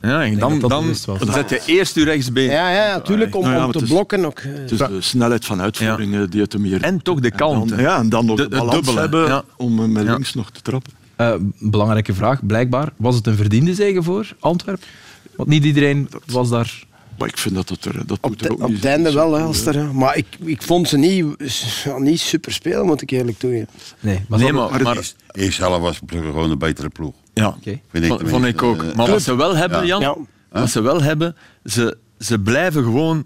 S5: Ja, en dan,
S9: dat dat
S5: dan
S9: bewust was.
S5: zet je eerst je rechtsbeen.
S7: Ja, ja, natuurlijk, om,
S6: Nou ja,
S7: om
S6: maar
S7: te
S6: het is-
S7: blokken ook. eh.
S6: Het is dus de snelheid van uitvoering eh, die het hem hier...
S5: En toch de
S6: dan,
S5: kalmte.
S6: ja, en dan nog
S5: De-
S6: de,
S5: het
S6: balans
S5: dubbele,
S6: hebben
S5: ja.
S6: om eh, met
S5: Ja.
S6: links nog te trappen.
S9: Eh, belangrijke vraag, blijkbaar. Was het een verdiende zege voor Antwerpen? Want niet iedereen was daar...
S6: Maar ik vind dat het er, dat
S7: Op,
S6: moet er
S7: de-
S6: ook
S7: op
S6: niet
S7: het einde
S6: zo-
S7: wel, hè, als er, hè. maar ik, ik vond ze niet, ja, niet super spelen, moet ik eerlijk toegeven.
S9: Nee, maar...
S5: Nee, maar, maar,
S4: Eerst- Eerst zelf was het gewoon een betere ploeg.
S5: ja,
S9: Oké.
S4: Vind ik
S5: vond, vond ik ook.
S4: tenminste.
S5: Maar wat ze wel hebben, Jan,
S7: Eh, Ja.
S5: wat ze wel hebben, ze, ze blijven gewoon...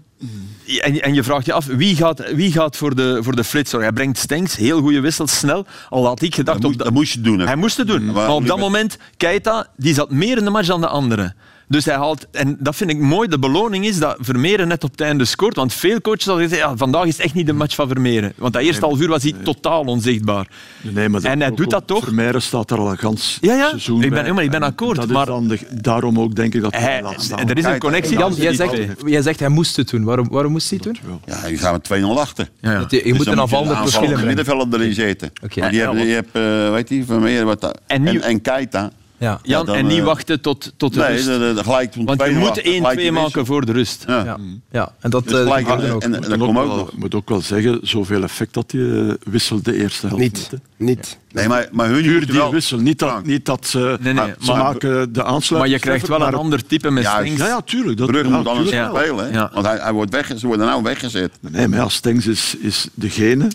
S5: En, en je vraagt je af, wie gaat, wie gaat voor, de, voor de flits zorgen? Hij brengt Stenks, heel goede wissel, snel. Al had ik gedacht...
S4: Dat, moest,
S5: op de-
S4: dat moest je doen. hè.
S5: Hij moest het doen.
S4: Maar
S5: Maar op dat
S4: liever-
S5: moment, Keita, die zat meer in de match dan de anderen. Dus hij haalt, en dat vind ik mooi, de beloning is dat Vermeeren net op het einde scoort. Want veel coaches hadden gezegd, ja, vandaag is het echt niet de match van Vermeeren. Want dat eerste half uur was hij totaal onzichtbaar.
S6: Nee, maar
S5: En hij
S6: ook
S5: doet dat
S6: wel-
S5: toch?
S6: Vermeijeren staat er al een gans
S5: Ja, ja.
S6: seizoen
S5: Ik ben-
S6: bij.
S5: ja, maar ik ben
S6: En
S5: akkoord,
S6: Dat is
S5: maar-
S6: dan de- daarom ook denk ik dat hij
S5: Hij,
S6: hem laat staan.
S5: er is een connectie
S9: Jan,
S5: tussen
S9: jij
S5: die
S9: zegt,
S5: twee.
S9: jij zegt hij moest het doen. Waarom, waarom moest hij het doen?
S4: Ja, je gaat met 2-0 achter. Dus
S5: Ja, ja.
S9: Want Je, je moet een aanvallend profiel
S4: verschillende
S9: hebben.
S4: middenvelden erin zitten.
S9: Oké.
S4: Maar die
S5: Ja,
S4: hebben, die hebben, eh, weet je, van meer wat dat-
S5: En
S4: en,
S5: nieuw-
S4: en, Keita.
S9: Ja.
S5: Jan,
S4: Ja, dan,
S5: en niet
S4: eh,
S5: wachten tot, tot de
S4: Nee,
S5: rust.
S4: dat, dat, gelijk toen
S5: Want je
S4: 2-0
S5: moet
S4: achter, gelijk
S5: 1-2
S4: die
S5: maken
S4: wissel.
S5: voor de rust.
S4: Ja.
S9: Ja. ja, en dat...
S4: Dus
S9: eh,
S4: gelijk,
S2: Ah,
S9: hadden we ook.
S4: en, en
S6: Ik
S4: dat
S6: moet
S4: komt ook
S6: wel-
S4: nog.
S6: moet ook wel zeggen, zoveel effect dat je wisselt de eerste helft.
S7: Niet,
S6: hè.
S7: niet.
S4: Nee, maar, maar hun
S6: Puur
S4: moeten
S6: die
S4: wel...
S6: wissel, niet dat,
S4: Frank.
S6: niet dat ze,
S5: Nee, nee,
S6: ze
S5: maar-
S6: maken de aansluiting.
S5: Maar je krijgt wel een ander type met
S4: Ja,
S5: Stenks.
S6: Ja, ja, tuurlijk. Dat,
S4: Brugge
S6: ja,
S4: moet anders
S6: tuurlijk
S4: gaan
S5: ja.
S6: wel.
S4: spelen. hè.
S5: Ja.
S4: Want hij, hij wordt wegge- ze worden nou weggezet.
S6: Nee, maar ja, Stengs is, is degene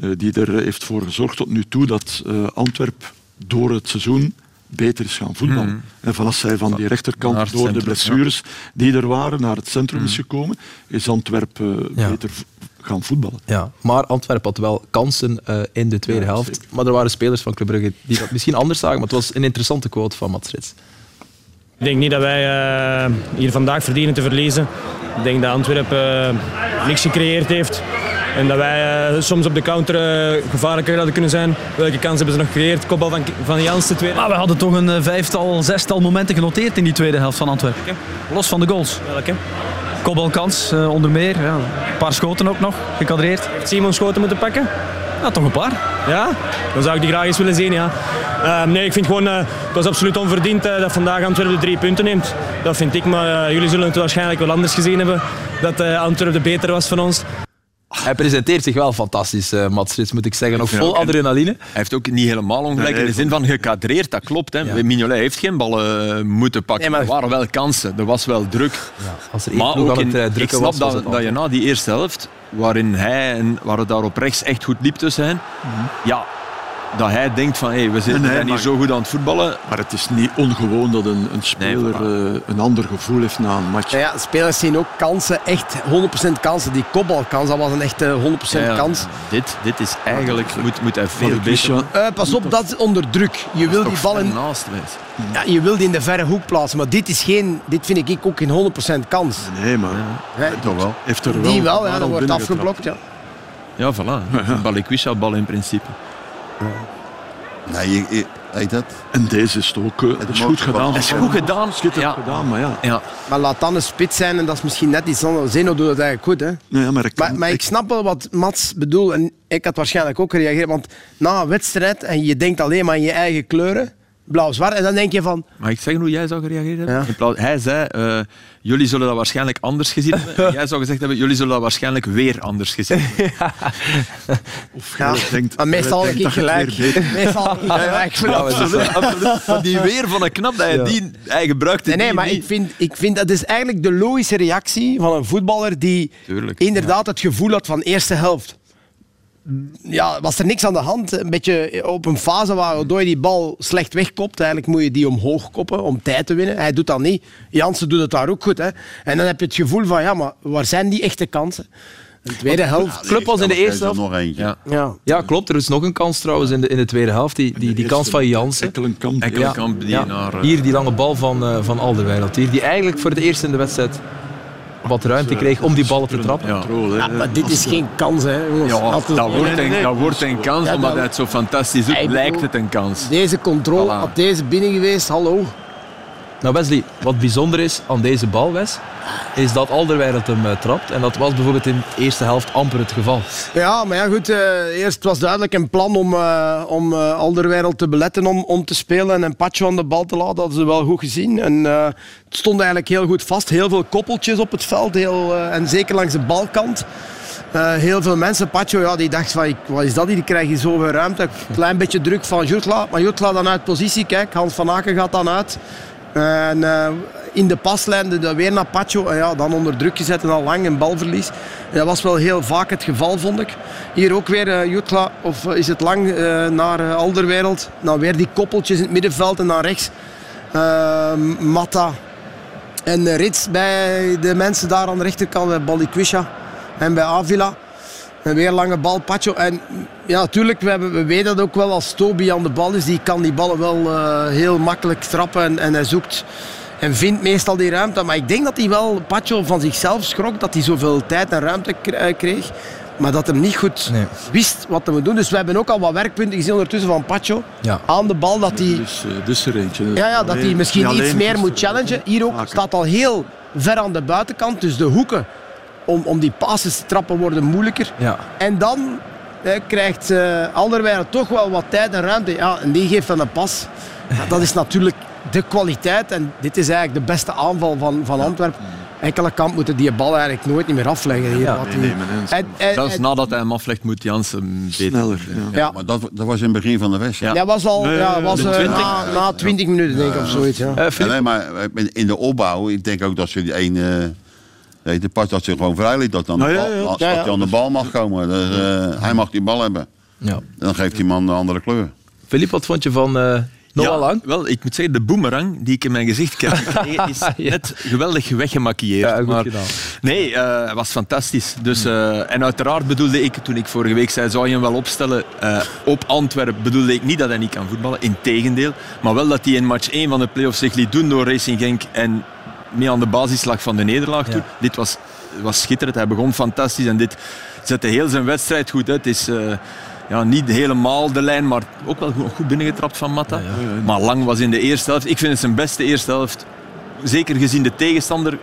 S6: eh, die er eh, heeft voor gezorgd tot nu toe dat eh Antwerp door het seizoen beter is gaan voetballen. En vanaf zij van die rechterkant
S5: naar
S6: door
S5: het
S6: de
S5: centrum,
S6: blessures die er waren naar het centrum is gekomen, is Antwerp eh,
S9: Ja.
S6: beter v- gaan voetballen.
S9: Ja, maar Antwerpen had wel kansen eh, in de tweede
S6: Ja,
S9: helft. Maar er waren spelers van Club Brugge die dat misschien anders zagen. Maar het was een interessante quote van Mats Rits.
S13: Ik denk niet dat wij eh, hier vandaag verdienen te verliezen. Ik denk dat Antwerpen eh, niks gecreëerd heeft. En dat wij eh, soms op de counter eh, gevaarlijker hadden kunnen zijn. Welke kans hebben ze nog gecreëerd? Kopbal van, van Jans de tweede.
S2: Maar we hadden toch een eh, vijftal, zestal momenten genoteerd in die tweede helft van Antwerpen. Los van de goals.
S13: Welke?
S2: Kopbalkans, eh, onder meer. Ja. Een paar schoten ook nog, gekadreerd.
S13: Heeft Simon schoten moeten pakken?
S2: Ja, toch een paar.
S13: Ja? Dan zou ik die graag eens willen zien, ja. Eh, nee, ik vind gewoon, eh het was absoluut onverdiend eh, dat vandaag Antwerpen de drie punten neemt. Dat vind ik, maar eh, jullie zullen het waarschijnlijk wel anders gezien hebben. Dat eh, Antwerpen de beter was van ons.
S9: Hij presenteert zich wel fantastisch, eh Mats Rits, moet ik zeggen. Ook
S5: vind
S9: vol
S5: ook- en-
S9: adrenaline.
S5: Hij heeft ook niet helemaal ongelijk
S6: Nee,
S5: in de zin van gekadreerd, dat klopt. Hè. Mignolet heeft geen ballen eh, moeten pakken.
S7: Nee, maar-
S5: Er waren wel kansen, er was wel druk.
S9: Als er één
S5: Maar
S9: ploeg
S5: ook
S9: aan het
S5: in,
S9: eh,
S5: ik
S9: drukken
S5: snap
S9: was, was
S5: dat,
S9: het
S5: dat je na die eerste helft, waarin hij en waar het daar op rechts echt goed liep tussen hen, ja, dat hij denkt van hé, we zitten
S6: Nee, nee,
S5: zijn hier
S6: maar-
S5: zo goed aan het voetballen.
S6: Maar het is niet ongewoon dat een, een speler eh, een ander gevoel heeft na een match.
S7: Nou ja, spelers zien ook kansen, echt 100% kansen. Die kopbalkans, dat was een echte 100%
S5: Ja,
S7: kans.
S5: Dit, dit is eigenlijk, moet, moet hij
S6: Van de
S5: veel beter
S6: Christian,
S7: Eh, pas op, dat is onder druk. Je wil die bal in,
S5: naast wezen.
S7: ja, je wil die in de verre hoek plaatsen, maar dit, is geen, dit vind ik ook geen 100% kans.
S6: nee, maar
S7: Hè,
S4: Toch wel.
S6: heeft er wel
S7: Die wel, ja,
S6: maar
S7: dat
S6: al
S7: wordt
S6: binnengetrapt.
S7: afgeblokt. Ja.
S5: Ja, voilà. Balikwisha bal in principe.
S4: Nee, je, je- heet dat?
S6: En deze is het ook. eh, Het is goed gedaan.
S7: Het is goed gedaan.
S6: Schitterend
S7: Ja.
S6: gedaan, maar ja.
S5: ja.
S7: Maar laat dan een spits zijn en dat is misschien net iets anders. Zeno doet dat eigenlijk goed. Hè?
S6: Ja, maar, ik
S7: maar, ik snap wel wat Mats bedoelt en ik had waarschijnlijk ook gereageerd. Want na een wedstrijd en je denkt alleen maar aan je eigen kleuren, blauw-zwart, en dan denk je van...
S5: Mag ik zeggen hoe jij zou gereageerd hebben? In plaats- hij zei, eh, jullie zullen dat waarschijnlijk anders gezien hebben. En jij zou gezegd hebben, jullie zullen dat waarschijnlijk weer anders gezien hebben.
S6: Of
S7: Ja,
S6: jij denkt-
S7: maar meestal
S6: jij
S7: heb
S6: denkt
S7: ik
S6: dat je het
S7: gelijk.
S6: weer weet.
S7: Meestal heb ik gelijk.
S5: Absoluut, absoluut. Maar die weer van een knap, dat hij,
S7: Ja.
S5: die, hij gebruikte
S7: Nee, nee
S5: die
S7: maar
S5: niet.
S7: ik vind, ik vind dat is eigenlijk de logische reactie van een voetballer die
S5: Tuurlijk,
S7: inderdaad het gevoel had van eerste helft. Ja, was er niks aan de hand. Een beetje op een fase waardoor je die bal slecht wegkopt. Eigenlijk moet je die omhoog koppen om tijd te winnen. Hij doet dat niet. Jansen doet het daar ook goed. Hè. En dan heb je het gevoel van, ja, maar waar zijn die echte kansen? De tweede helft.
S2: Club was in de eerste helft.
S4: Nog eentje.
S5: Ja.
S7: Ja.
S2: Ja, klopt. Er is nog een kans trouwens in de, in de tweede helft. Die, die, die kans van Jansen.
S6: Ekkelenkamp.
S5: Ekkelenkamp die naar, eh,
S2: Hier die lange bal van, eh van Alderweireld. Hier die eigenlijk voor het eerst in de wedstrijd wat ruimte kreeg om die ballen te trappen.
S7: Ja, maar dit is geen kans, hè, jongens.
S5: Ja,
S7: Dat is-
S5: dat wordt,
S7: Nee, nee,
S5: een,
S7: nee.
S5: dat wordt een kans,
S7: Ja,
S5: omdat
S7: dat-
S5: hij het zo fantastisch doet,
S7: Ik bedoel-
S5: lijkt het een kans.
S7: Deze controle,
S5: Voilà.
S7: had deze binnen geweest, hallo.
S2: Nou Wesley, wat bijzonder is aan deze bal, Wes, is dat Alderweireld hem eh, trapt. En dat was bijvoorbeeld in de eerste helft amper het geval.
S7: Ja, maar ja, goed. eh, eerst was duidelijk een plan om, eh om eh, Alderweireld te beletten om, om te spelen en een patje aan de bal te laten. Dat hadden ze wel goed gezien. En, eh, het stond eigenlijk heel goed vast. Heel veel koppeltjes op het veld heel, eh, en zeker langs de balkant. Eh, heel veel mensen, Pacho, ja, die dacht van, ik- wat is dat hier, die krijg je zoveel ruimte. Een klein beetje druk van Jurtla, maar Jurtla dan uit positie, kijk, Hans van Aken gaat dan uit. En eh, in de paslijn de- de weer naar Pacho. En ja, dan onder druk gezet en al lang een balverlies. En dat was wel heel vaak het geval, vond ik. Hier ook weer eh Jutla, of eh, is het lang, eh, naar eh, Alderwereld. Dan weer die koppeltjes in het middenveld en dan rechts. eh, Matta en eh, Rits bij de mensen daar aan de rechterkant. Bij Balikwisha en bij Avila. En weer lange bal, Pacho. En ja, natuurlijk, we, hebben, we weten dat ook wel als Toby aan de bal is. Die kan die ballen wel eh, heel makkelijk trappen en, en hij zoekt en vindt meestal die ruimte. Maar ik denk dat hij wel, Pacho, van zichzelf schrok dat hij zoveel tijd en ruimte k- eh, kreeg. Maar dat hem niet goed wist wat hij moet doen. Dus we hebben ook al wat werkpunten gezien ondertussen van Pacho.
S2: Ja.
S7: Aan de bal dat hij...
S6: Dus, eh, dus er eentje.
S7: Ja, ja, dat hij
S6: Alleen-
S7: misschien
S6: alleen dus, eh,
S7: iets meer
S6: gisteren.
S7: moet challengen. Hier ook staat al heel ver aan de buitenkant. Dus de hoeken om, om die passes te trappen worden moeilijker.
S2: Ja.
S7: En dan eh, krijgt eh Alderweireld toch wel wat tijd en ruimte. Ja, en die geeft dan een pas. Ja, dat is natuurlijk de kwaliteit. En dit is eigenlijk de beste aanval van, van Antwerpen. Enkele kant moeten die bal eigenlijk nooit niet meer afleggen. Hier, wat die- En- en-
S5: Zelfs
S7: en-
S5: nadat hij hem aflegt, moet Jansen beter.
S6: Sneller,
S7: ja. Ja.
S4: Maar dat, dat was in het begin van de wedstrijd.
S7: ja, was al
S6: Nee,
S7: ja, was,
S6: de
S7: eh,
S6: 20.
S7: na, na 20 minuten, denk ik, of zoiets. Ja.
S4: nee, maar eh, in- in de opbouw, ik denk ook dat ze die één... eh, weet je, pas dat ze gewoon vrij liet, dat dan de
S6: Nou, ja,
S4: bal-
S6: ja, ja.
S4: als-
S7: Ja, ja.
S4: dat hij aan de bal mag komen. Dus, eh, hij mag die bal hebben.
S2: Ja.
S4: Dan geeft die man een andere kleur.
S2: Filip, wat vond je van eh Noah
S5: Ja,
S2: Lang?
S5: Wel, ik moet zeggen, de boemerang die ik in mijn gezicht kreeg, gekregen, is
S2: Ja.
S5: net geweldig weggemacquilleerd.
S2: Ja, goed gedaan. Hmm.
S5: Nee, eh, hij was fantastisch. Dus, eh, en uiteraard bedoelde ik, toen ik vorige week zei, zou je hem wel opstellen eh, op Antwerpen, bedoelde ik niet dat hij niet kan voetballen, integendeel. Maar wel dat hij in match 1 van de play-offs zich liet doen door Racing Genk en mee aan de basislag van de nederlaag toe. Dit was, was schitterend, hij begon fantastisch en dit zette heel zijn wedstrijd goed uit. Het is... eh, ja, niet helemaal de lijn, maar ook wel goed, goed binnengetrapt van Matta. Eh, Maar Lang was in de eerste helft. Ik vind het zijn beste eerste helft. Zeker gezien de tegenstander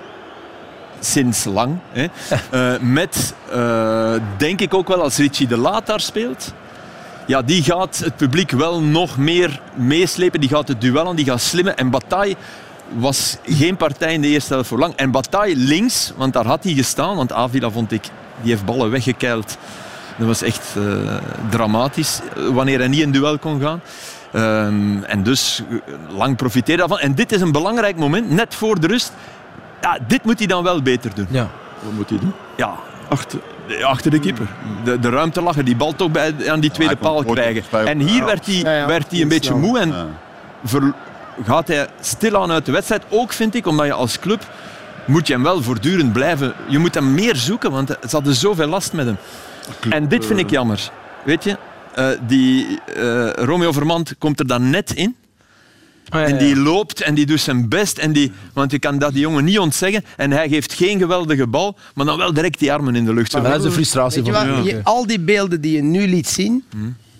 S5: sinds lang. Hè. Eh, met, eh, denk ik ook wel, als Richie de Laat daar speelt. Ja, die gaat het publiek wel nog meer meeslepen. Die gaat het duel aan, die gaat slimmen. En Bataille was geen partij in de eerste helft voor lang. En Bataille links, want daar had hij gestaan. Want Avila vond ik, die heeft ballen weggekeild. Dat was echt eh, dramatisch, eh, wanneer hij niet in duel kon gaan. Ehm, en dus eh, lang profiteer daarvan. En dit is een belangrijk moment, net voor de rust. Ja, dit moet hij dan wel beter doen.
S2: Ja.
S6: Wat moet hij doen?
S5: Ja,
S6: Achter.
S5: de- achter de keeper. De, de ruimte lag er, die bal toch bij, aan die tweede
S4: hij kon
S5: paal
S4: kort
S5: krijgen.
S4: spelen.
S5: En hier werd hij,
S7: Ja, ja,
S5: werd hij een
S7: heel
S5: beetje
S7: snel.
S5: moe en
S4: Ja.
S5: ver- gaat hij stilaan uit de wedstrijd. Ook vind ik, omdat je als club moet je hem wel voortdurend blijven. Je moet hem meer zoeken, want ze hadden zoveel last met hem. En dit vind ik
S4: eh,
S5: jammer. Weet je, eh, die eh, Romeo Vermand komt er dan net in.
S2: Ah,
S5: En die loopt en die doet zijn best. En die, want je kan dat die jongen niet ontzeggen. En hij geeft geen geweldige bal, maar dan wel direct die armen in de lucht. Zo
S2: Maar dat is de frustratie
S7: Weet je
S2: van Hmm.
S7: wat? Je- al die beelden die je nu liet zien,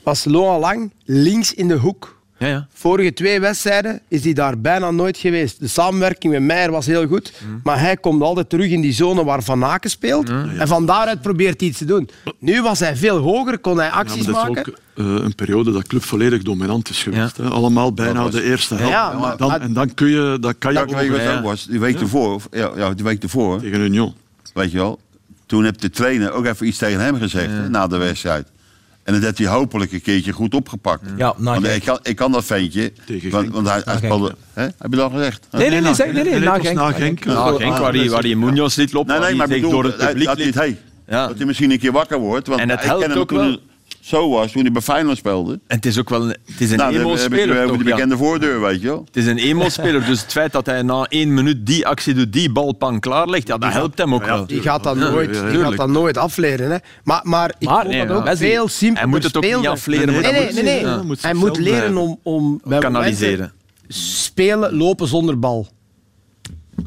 S7: was Loa Lang links in de hoek.
S5: Ja, ja.
S7: Vorige twee wedstrijden is hij daar bijna nooit geweest. De samenwerking met Meijer was heel goed.
S2: Hmm.
S7: Maar hij komt altijd terug in die zone waar Van Aken speelt. En van daaruit probeert hij iets te doen. Nu was hij veel hoger, kon hij
S6: Ja,
S7: acties
S6: maar dat is
S7: maken.
S6: ook eh, een periode dat club volledig dominant is geweest. Hè? Allemaal bijna de eerste helft.
S7: Ja, maar-
S6: dan, en dan kun je, dat kan je
S4: Dat weet je wat
S6: over-
S4: het ook was. Die week ervoor, of- ja, ja, die week ervoor.
S6: Tegen Union.
S4: Weet je wel. Toen heb de trainer ook even iets tegen hem gezegd hè, na de wedstrijd. En dat heeft hij hopelijk een keertje goed opgepakt.
S5: nou,
S2: Ja, na
S4: want
S2: Genk.
S4: ik kan, ik kan dat ventje. Want, want hij, hij
S2: Genk,
S4: speelde. Hè? Heb je dat al gezegd?
S2: Nee, nee, nee, zeg- nee, nee, na Genk.
S5: Ja, Genk, waar hij waar die Munoz liet lopen,
S4: Nee, nee,
S5: waar
S4: maar
S5: hij
S4: ik bedoel,
S5: door het
S4: dat-
S5: publiek
S4: dat hij
S5: liet.
S4: het hey,
S5: Ja.
S4: Dat hij misschien een keer wakker wordt. Want
S5: En het
S4: ik
S5: helpt
S4: ken hem
S5: ook
S4: toen
S5: wel.
S4: hij zo was toen hij bij Feyenoord speelde.
S5: En het is ook wel een, het is
S4: Nou,
S5: een
S4: dan heb- heb ik
S5: emo-speler.
S4: weer over
S5: toch,
S4: de
S5: ja.
S4: bekende voordeur, weet je wel.
S5: Het is een emo-speler, dus het feit dat hij na één minuut die actie doet, die balpan klaarlegt, ja, dat helpt hem ook wel.
S7: Die gaat dat nooit, die gaat
S5: tuurlijk.
S7: dat nooit afleren. Hè. Maar, maar ik
S5: Maar,
S7: vond
S5: nee,
S7: dat ook
S5: maar-
S7: veel simpeler
S5: Hij moet het ook niet
S7: speelden.
S5: afleren, maar
S7: Nee,
S5: dat
S7: nee,
S5: moet
S7: nee.
S5: hij-
S7: nee.
S5: ja, moet
S7: Hij
S5: zichzelf
S7: moet leren
S5: blijven.
S6: eh,
S7: om, om bij
S5: Kanaliseren.
S7: momenten Spelen, lopen zonder bal.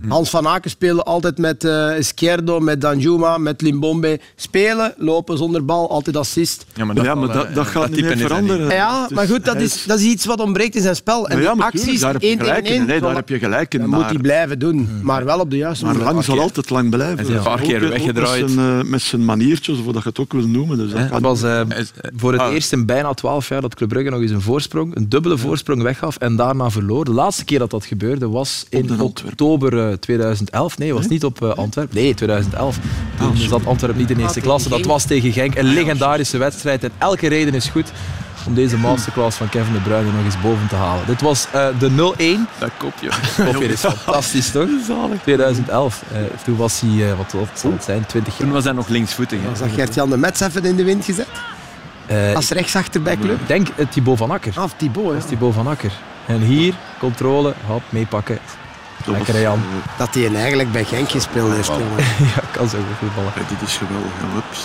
S6: Hm.
S7: Hans van Aken speelde altijd met eh Izquierdo, met Danjuma, met Limbombe. Spelen, lopen zonder bal, altijd assist.
S5: Ja, maar eh,
S6: dat, ja, maar dat, dat gaat niet meer veranderen.
S7: Ja, maar goed, dat is, dat is iets wat ontbreekt in zijn spel. En
S6: Maar ja,
S7: die
S6: maar tuurlijk,
S7: acties,
S6: daar heb je
S7: één tegen
S6: gelijk in.
S7: één,
S6: Nee, daar
S7: voilà.
S6: heb je gelijk in,
S7: dat
S6: maar- Hm.
S7: moet hij blijven doen. Maar wel op de juiste
S6: Maar
S7: manier.
S6: lang zal altijd lang blijven.
S5: Hij is een
S6: Ja.
S5: paar
S6: Ook,
S5: keer
S6: eh, ook
S5: weggedraaid.
S6: Met zijn, eh, met zijn maniertjes, of hoe dat je het ook wil noemen. Dus dat
S2: Hè,
S6: kan
S2: Het was eh, voor het
S6: ah.
S2: eerst in bijna 12 jaar dat Club Brugge nog eens een voorsprong, een dubbele voorsprong weggaf en daarna verloor. De laatste keer dat dat gebeurde was in oktober eh, 2011. Nee, was niet op eh, Antwerpen. Nee, 2011. Toen zat Antwerpen niet in eerste klasse. Dat was tegen Genk. Een legendarische wedstrijd en elke reden is goed om deze masterclass van Kevin De Bruyne nog eens boven te halen. Dit was eh, de 0-1
S5: Dat kopje.
S2: Kopje is fantastisch, toch? 2011. Eh, toen was hij, eh, wat, wat zal het zijn, 20 jaar.
S5: Toen was hij nog linksvoetig. hè.
S7: Was dat Gert-Jan de Metz even in de wind gezet?
S2: Eh,
S7: Als rechtsachter bij club?
S2: ik denk het Thibaut van Akker.
S7: Af Thibaut, hè.
S2: Thibaut van Akker. En hier, controle, hap, meepakken.
S6: was,
S2: Lekker Jan.
S7: Dat hij eigenlijk bij Genk gespeeld heeft. jongen.
S2: Ja, kan zo goed voetballen.
S6: eh, dit is geweldig. ja, Hups.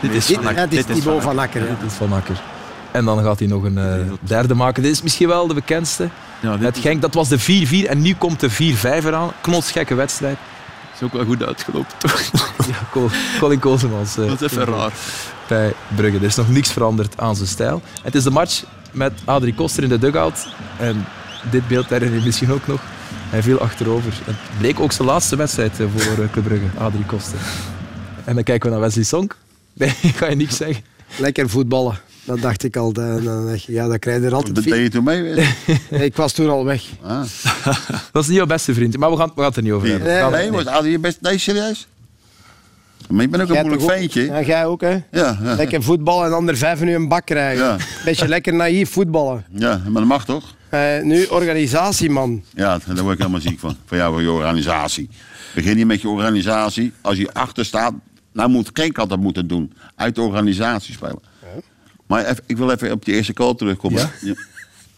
S5: Dit is
S7: Dit,
S5: van
S7: hè,
S5: Akker.
S7: dit is
S5: Dit is
S7: Thibaut
S5: van
S7: van Akker. hè.
S2: Dit is van Akker. En dan gaat hij nog een eh, derde maken. Dit is misschien wel de bekendste.
S5: Ja, dit
S2: Het Genk, dat was de 4-4 en nu komt de 4-5 eraan. Knotsgekke wedstrijd.
S5: is ook wel goed uitgelopen. toch?
S2: Ja, Col- Colin Kozemans. eh,
S5: Dat is even raar.
S2: bij Brugge. Er is nog niks veranderd aan zijn stijl. Het is de match met Adrie Koster in de dugout. En dit beeld herinner je misschien ook nog. Hij viel achterover. Het bleek ook zijn laatste wedstrijd eh, voor eh, Club Brugge, Adrie Koster. En dan kijken we naar Wesley Song. Nee, ga je niks zeggen.
S7: Lekker voetballen. Dat dacht ik al. Dan- dan dacht je, Ja, dat krijg je er altijd
S4: Dat deed
S7: veel.
S4: je toen mee weer.
S7: Ik was toen al weg.
S4: Ah.
S2: Dat is niet jouw beste vriend, maar we gaan, we gaan het er niet over
S4: Nee,
S2: hebben.
S4: nee, was Adi je best... Nee, serieus? Maar je bent ook een
S7: Jij
S4: moeilijk
S7: toch ook?
S4: ventje.
S7: Ja, jij ook, hè?
S4: Ja, ja,
S7: Lekker voetballen en ander vijf nu een bak krijgen.
S4: Ja.
S7: Beetje lekker naïef voetballen.
S4: ja, maar dat mag toch?
S7: Eh, nu organisatie, man.
S4: Ja, daar word ik helemaal ziek van. Van jou, van je organisatie. Begin niet met je organisatie. Als je achter staat, nou moet geen kant dat moeten doen. Uit de organisatie spelen. Maar even- ik wil even op die eerste goal terugkomen. Je,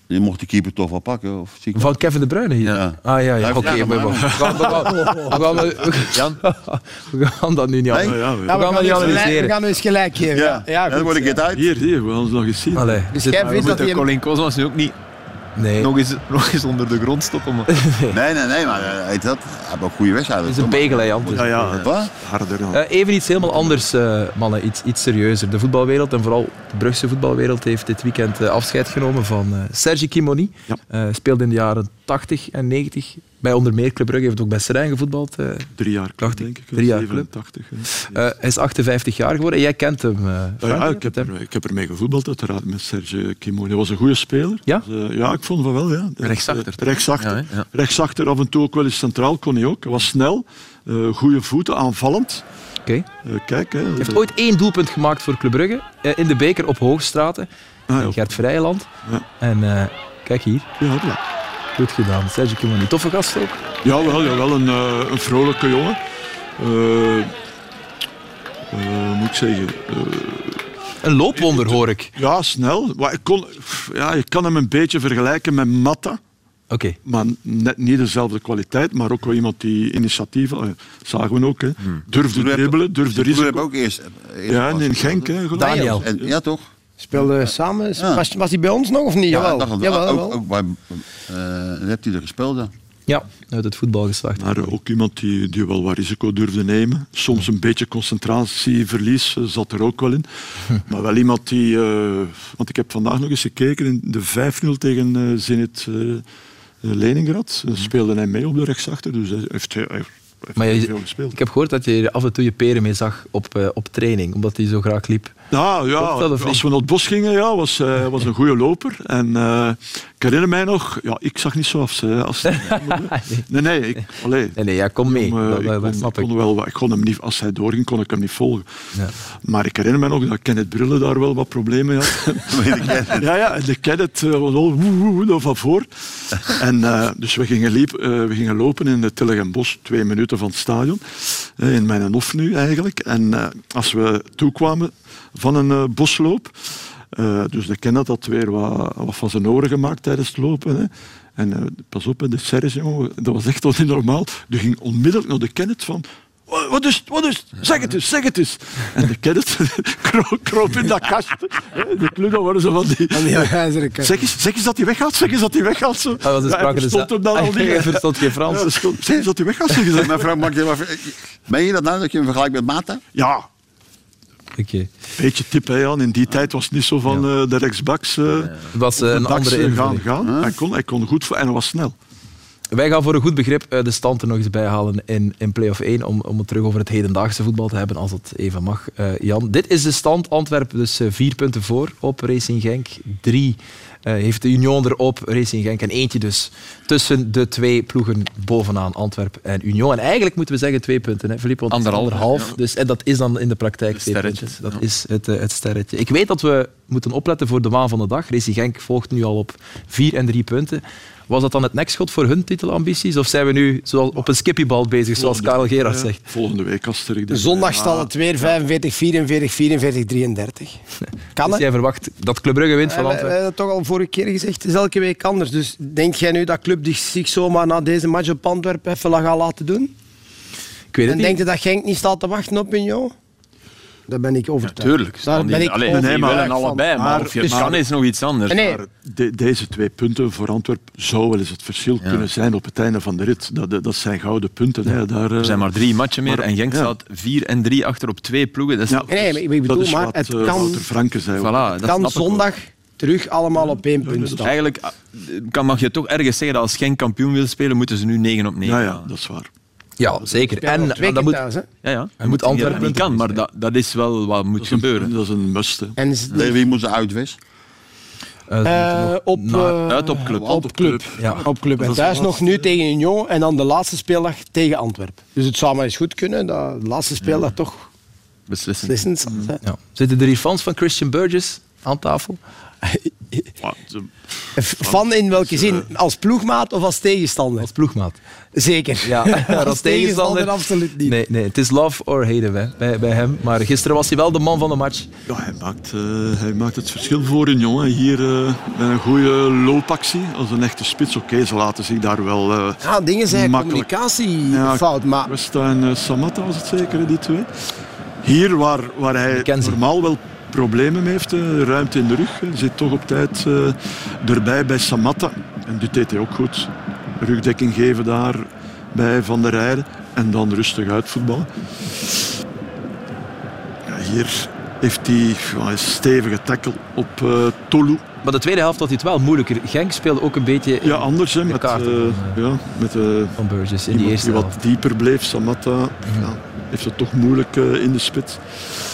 S4: je mocht de keeper toch wel pakken? Of zie ik
S2: Van Kevin De Bruyne hier?
S4: Ja.
S2: Ah ja, ja.
S4: Hij
S2: oké.
S4: heeft-
S2: we, we, gaan- we gaan- we gaan- we- we gaan dat nu niet
S4: Nee?
S2: aan.
S6: Ja,
S2: We
S6: we-
S2: gaan dat niet
S7: eens gelijk, we
S2: analyseren.
S7: gaan eens gelijk geven.
S4: Ja,
S7: Ja, ja,
S4: dan
S7: goed,
S4: word ik
S7: ja.
S4: het uit.
S6: Hier, hier, we gaan het nog eens zien.
S2: Allee,
S7: Dus jij
S5: Maar we
S7: vindt dat
S5: moeten
S7: hij...
S5: Colin Kozmans nu ook niet
S2: nee.
S5: nog eens, nog eens onder de grond stoppen. man.
S4: Nee, nee, nee, maar eh, heet dat, hij heeft ook goede wedstrijden.
S2: Het is een
S4: toch?
S2: pegel, hè, Jan. Het is
S6: Ja, ja,
S4: Wat?
S6: harder dan.
S2: Eh, even iets helemaal anders, eh, mannen. Iets, iets serieuzer. De voetbalwereld, en vooral de Brugse voetbalwereld, heeft dit weekend eh, afscheid genomen van eh, Serge Kimoni.
S6: Ja.
S2: Eh, speelde in de jaren 80 en 90 bij onder meer Club Brugge. heeft ook bij Serijn gevoetbald. eh.
S6: Drie jaar club,
S2: Dacht ik.
S6: denk ik.
S2: Drie jaar club.
S6: 87. hè.
S2: Eh, hij is 58 jaar geworden. Jij kent hem. eh, Frank,
S6: Oh Ja,
S2: je
S6: ik,
S2: kent
S6: heb
S2: hem.
S6: er, ik heb ermee gevoetbald, uiteraard, met Serge Kimoni. Hij was een goede speler.
S2: Ja?
S6: Dus, eh, ja, ik vond van wel. Ja.
S5: Rechtsachter,
S6: Eh, rechtsachter.
S5: Ja, hè? Ja.
S6: Rechtsachter, af en toe ook wel eens centraal, kon hij ook. Hij was snel, eh goede voeten, aanvallend.
S2: Oké.
S6: Eh, kijk, hè.
S2: Hij heeft ooit één doelpunt gemaakt voor Club Brugge. eh, in de beker op Hoogstraten.
S6: Ah,
S2: in
S6: ja,
S2: Gert Vrijeland.
S6: Ja.
S2: En eh, kijk hier.
S6: ja, voilà.
S2: Goed gedaan. Serge Kimoni. Toffe gast ook.
S6: Jawel, jawel, een, eh, een vrolijke jongen. Eh, eh, moet ik zeggen, eh,
S2: Een loopwonder, hoor ik.
S6: ja, snel. Maar ik kon, ja, je kan hem een beetje vergelijken met Matta.
S2: Oké.
S6: maar net niet dezelfde kwaliteit, maar ook wel iemand die initiatief, eh, zagen we ook, hè, durfde
S4: Toen heb-
S6: dribbelen, durfde
S4: Toen heb ik
S6: risico.
S4: Hmm. ook eerst. eh, eerst
S6: Ja, en
S4: pas-
S6: in Genk, hè, geloof ik.
S2: Daniel.
S4: En, ja, toch?
S7: Speelde we samen?
S4: Ja.
S7: Was, was hij bij ons nog of niet?
S4: Ja,
S7: jawel.
S4: ik dacht dat-
S7: jawel,
S4: ook,
S7: jawel.
S4: ook bij. eh, dan heeft hij er gespeeld dan?
S2: Ja, uit het voetbal geslacht.
S6: Maar eh, ook iemand die, die wel wat risico durfde nemen. Soms een beetje concentratieverlies eh, zat er ook wel in. Maar wel iemand die... eh, want ik heb vandaag nog eens gekeken in de 5-0 tegen eh Zenit eh, eh, Leningrad.
S4: Hmm.
S6: Eh, speelde hij mee op de rechtsachter, dus hij heeft... hij heeft
S2: Maar
S6: heel
S2: je-
S6: veel gespeeld.
S2: ik heb gehoord dat je er af en toe je peren mee zag op, eh, op training, omdat hij zo graag liep.
S6: Nou ja,
S2: Klopt dat of niet?
S6: als we naar het bos gingen, ja, was, eh, was een goede loper. En eh, ik herinner mij nog, ja, ik zag niet zo af. eh, als nee, nee, ik, allee,
S2: Nee, nee, ja, kom mee.
S6: eh,
S2: dat, dat- dat
S6: ik, kon,
S2: snap
S6: ik
S2: ik.
S6: kon wel, wat- ik kon hem niet, als hij doorging, kon ik hem niet volgen.
S2: Ja.
S6: Maar ik herinner me nog dat Kenneth Brille daar wel wat problemen had. ja, ja, en de Kenneth eh, was al woe, woe, woe, daar van voor. En, eh, dus we gingen, liep, eh, we gingen lopen in het Telegenbos, twee minuten van het stadion. eh, in mijn hof nu eigenlijk. En eh, als we toekwamen van een eh, bosloop... eh, dus de Kenneth had weer wat, wat van zijn oren gemaakt tijdens het lopen. Hè. En eh, pas op, hè, de Serres, jongen, dat was echt niet normaal. Die ging onmiddellijk naar de Kenneth van... "Wa- Wat is het? Wat is het? Zeg het eens, zeg het eens. En de Kenneth kro- kroop in dat kastje. hè. De Cluno waren zo van die... Zeg eens, zeg eens dat hij weggaat, zeg eens dat hij weggaat. Zo.
S2: Ah, want ze
S6: Ja, hij
S2: spraken dus-
S6: verstond hem dan al niet.
S2: Hij verstond geen Frans.
S6: Ja, dat is goed. zeg eens dat hij weggaat, zeg eens dat-
S4: Mevrouw, mag je even- ben je dat nou dat je hem vergelijkt met Mata?
S6: Ja,
S2: Oké.
S6: beetje tip, hè, Jan. In die tijd was het niet zo van eh, de rechtsbacks... eh,
S2: Het was eh,
S6: op de
S2: een
S6: backs,
S2: andere
S6: eh, gaan,
S2: invulling.
S6: gaan. Hij, kon, hij kon goed voor en hij was snel.
S2: Wij gaan voor een goed begrip eh, de stand er nog eens bij halen in, in play-off 1, om, om het terug over het hedendaagse voetbal te hebben, als dat even mag, eh, Jan. Dit is de stand, Antwerpen dus eh, vier punten voor op Racing Genk, drie eh, heeft de Union erop, Racing Genk en eentje dus tussen de twee ploegen bovenaan, Antwerpen en Union. En eigenlijk moeten we zeggen twee punten, hè, Filip? Want het is
S5: Anderhalf,
S2: anderhalf
S5: ja.
S2: dus, en dat is dan in de praktijk
S5: Het
S2: twee
S5: sterretje,
S2: punten. Dat
S5: ja.
S2: is het, eh, het sterretje. Ik weet dat we moeten opletten voor de waan van de dag. Racing Genk volgt nu al op vier en drie punten. Was dat dan het nekschot voor hun titelambities? Of zijn we nu zoals op een skippiebal bezig, zoals Karel Gerard
S6: Eh,
S2: zegt?
S6: Volgende week als er... ik denk-
S7: Zondag
S6: Ja.
S7: staat het weer 45, 44, 44, 33. Kan
S2: Dus
S7: het?
S2: jij verwacht dat Club Brugge wint van
S7: Eh, We hebben
S2: Antwerpen?
S7: dat toch al vorige keer gezegd. Het is elke week anders. Dus denk jij nu dat Club zich zomaar na deze match op Antwerpen even gaat laten doen?
S2: Ik weet het
S7: En
S2: niet.
S7: denk je dat Genk niet staat te wachten op jou? Daar ben ik overtuigd.
S5: Tuurlijk.
S7: Daar ben ik
S5: Alleen,
S7: over-
S5: nee,
S6: maar-
S5: maar allebei. Maar,
S6: maar-
S5: of je
S6: dus-
S5: kan is nog iets anders.
S7: Nee, nee.
S5: Maar
S6: De- deze twee punten voor Antwerpen zou wel eens het verschil kunnen zijn op het einde van de rit. Dat, dat- dat zijn gouden punten. Hè. Daar, eh,
S5: er zijn maar drie matchen meer
S6: Maar-
S5: en Genk
S6: ja.
S5: staat vier en drie achter op twee ploegen. Dat is
S6: eh, Ja,
S7: Nee, maar ik bedoel,
S6: dat is
S7: maar
S6: wat,
S7: het
S6: eh,
S7: kan-
S6: Wouter Franke zei ook.
S5: Voilà, dat snap
S7: kan
S5: ik wel.
S7: zondag terug allemaal op één punt staan.
S5: Eigenlijk ah, kan, mag je toch ergens zeggen dat als Genk kampioen wil spelen, moeten ze nu 9 op 9
S6: Ja, ja, dat is waar.
S2: Ja, zeker.
S7: Ja,
S2: En
S7: nog twee
S2: maar dat
S7: keer
S2: moet,
S7: thuis,
S5: ja,
S7: hè.
S5: ja.
S2: Hij moet
S5: Ja,
S2: Antwerpen
S5: dat niet kan, maar dat, dat is wel wat moet
S6: Dat is een,
S5: gebeuren.
S6: dat is een must. hè.
S7: En is-
S4: Tegen wie moest ze uit, Wes?
S2: Eh,
S7: eh, op,
S2: naar-
S7: eh,
S5: Uit op club.
S7: op club.
S2: Ja.
S7: Op club. En thuis nog nu tegen Union en dan de laatste speeldag tegen Antwerpen. Dus het zou maar eens goed kunnen dat de laatste speeldag toch
S5: Beslissen.
S7: beslissend zal zijn.
S2: ja. Zitten er hier fans van Christian Burgess aan tafel?
S6: Maar, eh,
S7: Van in welke zin? Als ploegmaat of als tegenstander?
S2: Als ploegmaat.
S7: Zeker.
S2: Ja,
S7: als, tegenstander absoluut niet.
S2: Nee, nee, het is love or hate him, hè, bij, bij hem. Maar gisteren was hij wel de man van de match.
S6: Ja, hij maakt, eh, hij maakt het verschil voor een jongen. Hier eh, met een goede loopactie. Als een echte spits. Oké, ze laten zich daar wel... eh
S7: Ja, dingen zijn
S6: Makkelijk.
S7: communicatiefout, maar
S6: Westijn eh, Samatta was het zeker, hè, die twee. Hier, waar, waar hij
S2: McKenzie.
S6: normaal wel problemen mee heeft, eh, ruimte in de rug, eh, zit toch op tijd eh, erbij bij Samatta. En dit deed hij ook goed. Rugdekking geven daar bij Van der Rijden. En dan rustig uitvoetballen. Ja, hier heeft hij ja, een stevige tackle op eh Tolu.
S2: Maar de tweede helft had hij het wel moeilijker. Genk speelde ook een beetje in-
S6: Ja, anders hè, met,
S2: kaarten
S6: eh, ja, met eh,
S2: van Burgess in die
S6: iemand die
S2: eerste helft. Mhm.
S6: wat dieper bleef. Samatta ja, heeft het toch moeilijk eh, in de spits.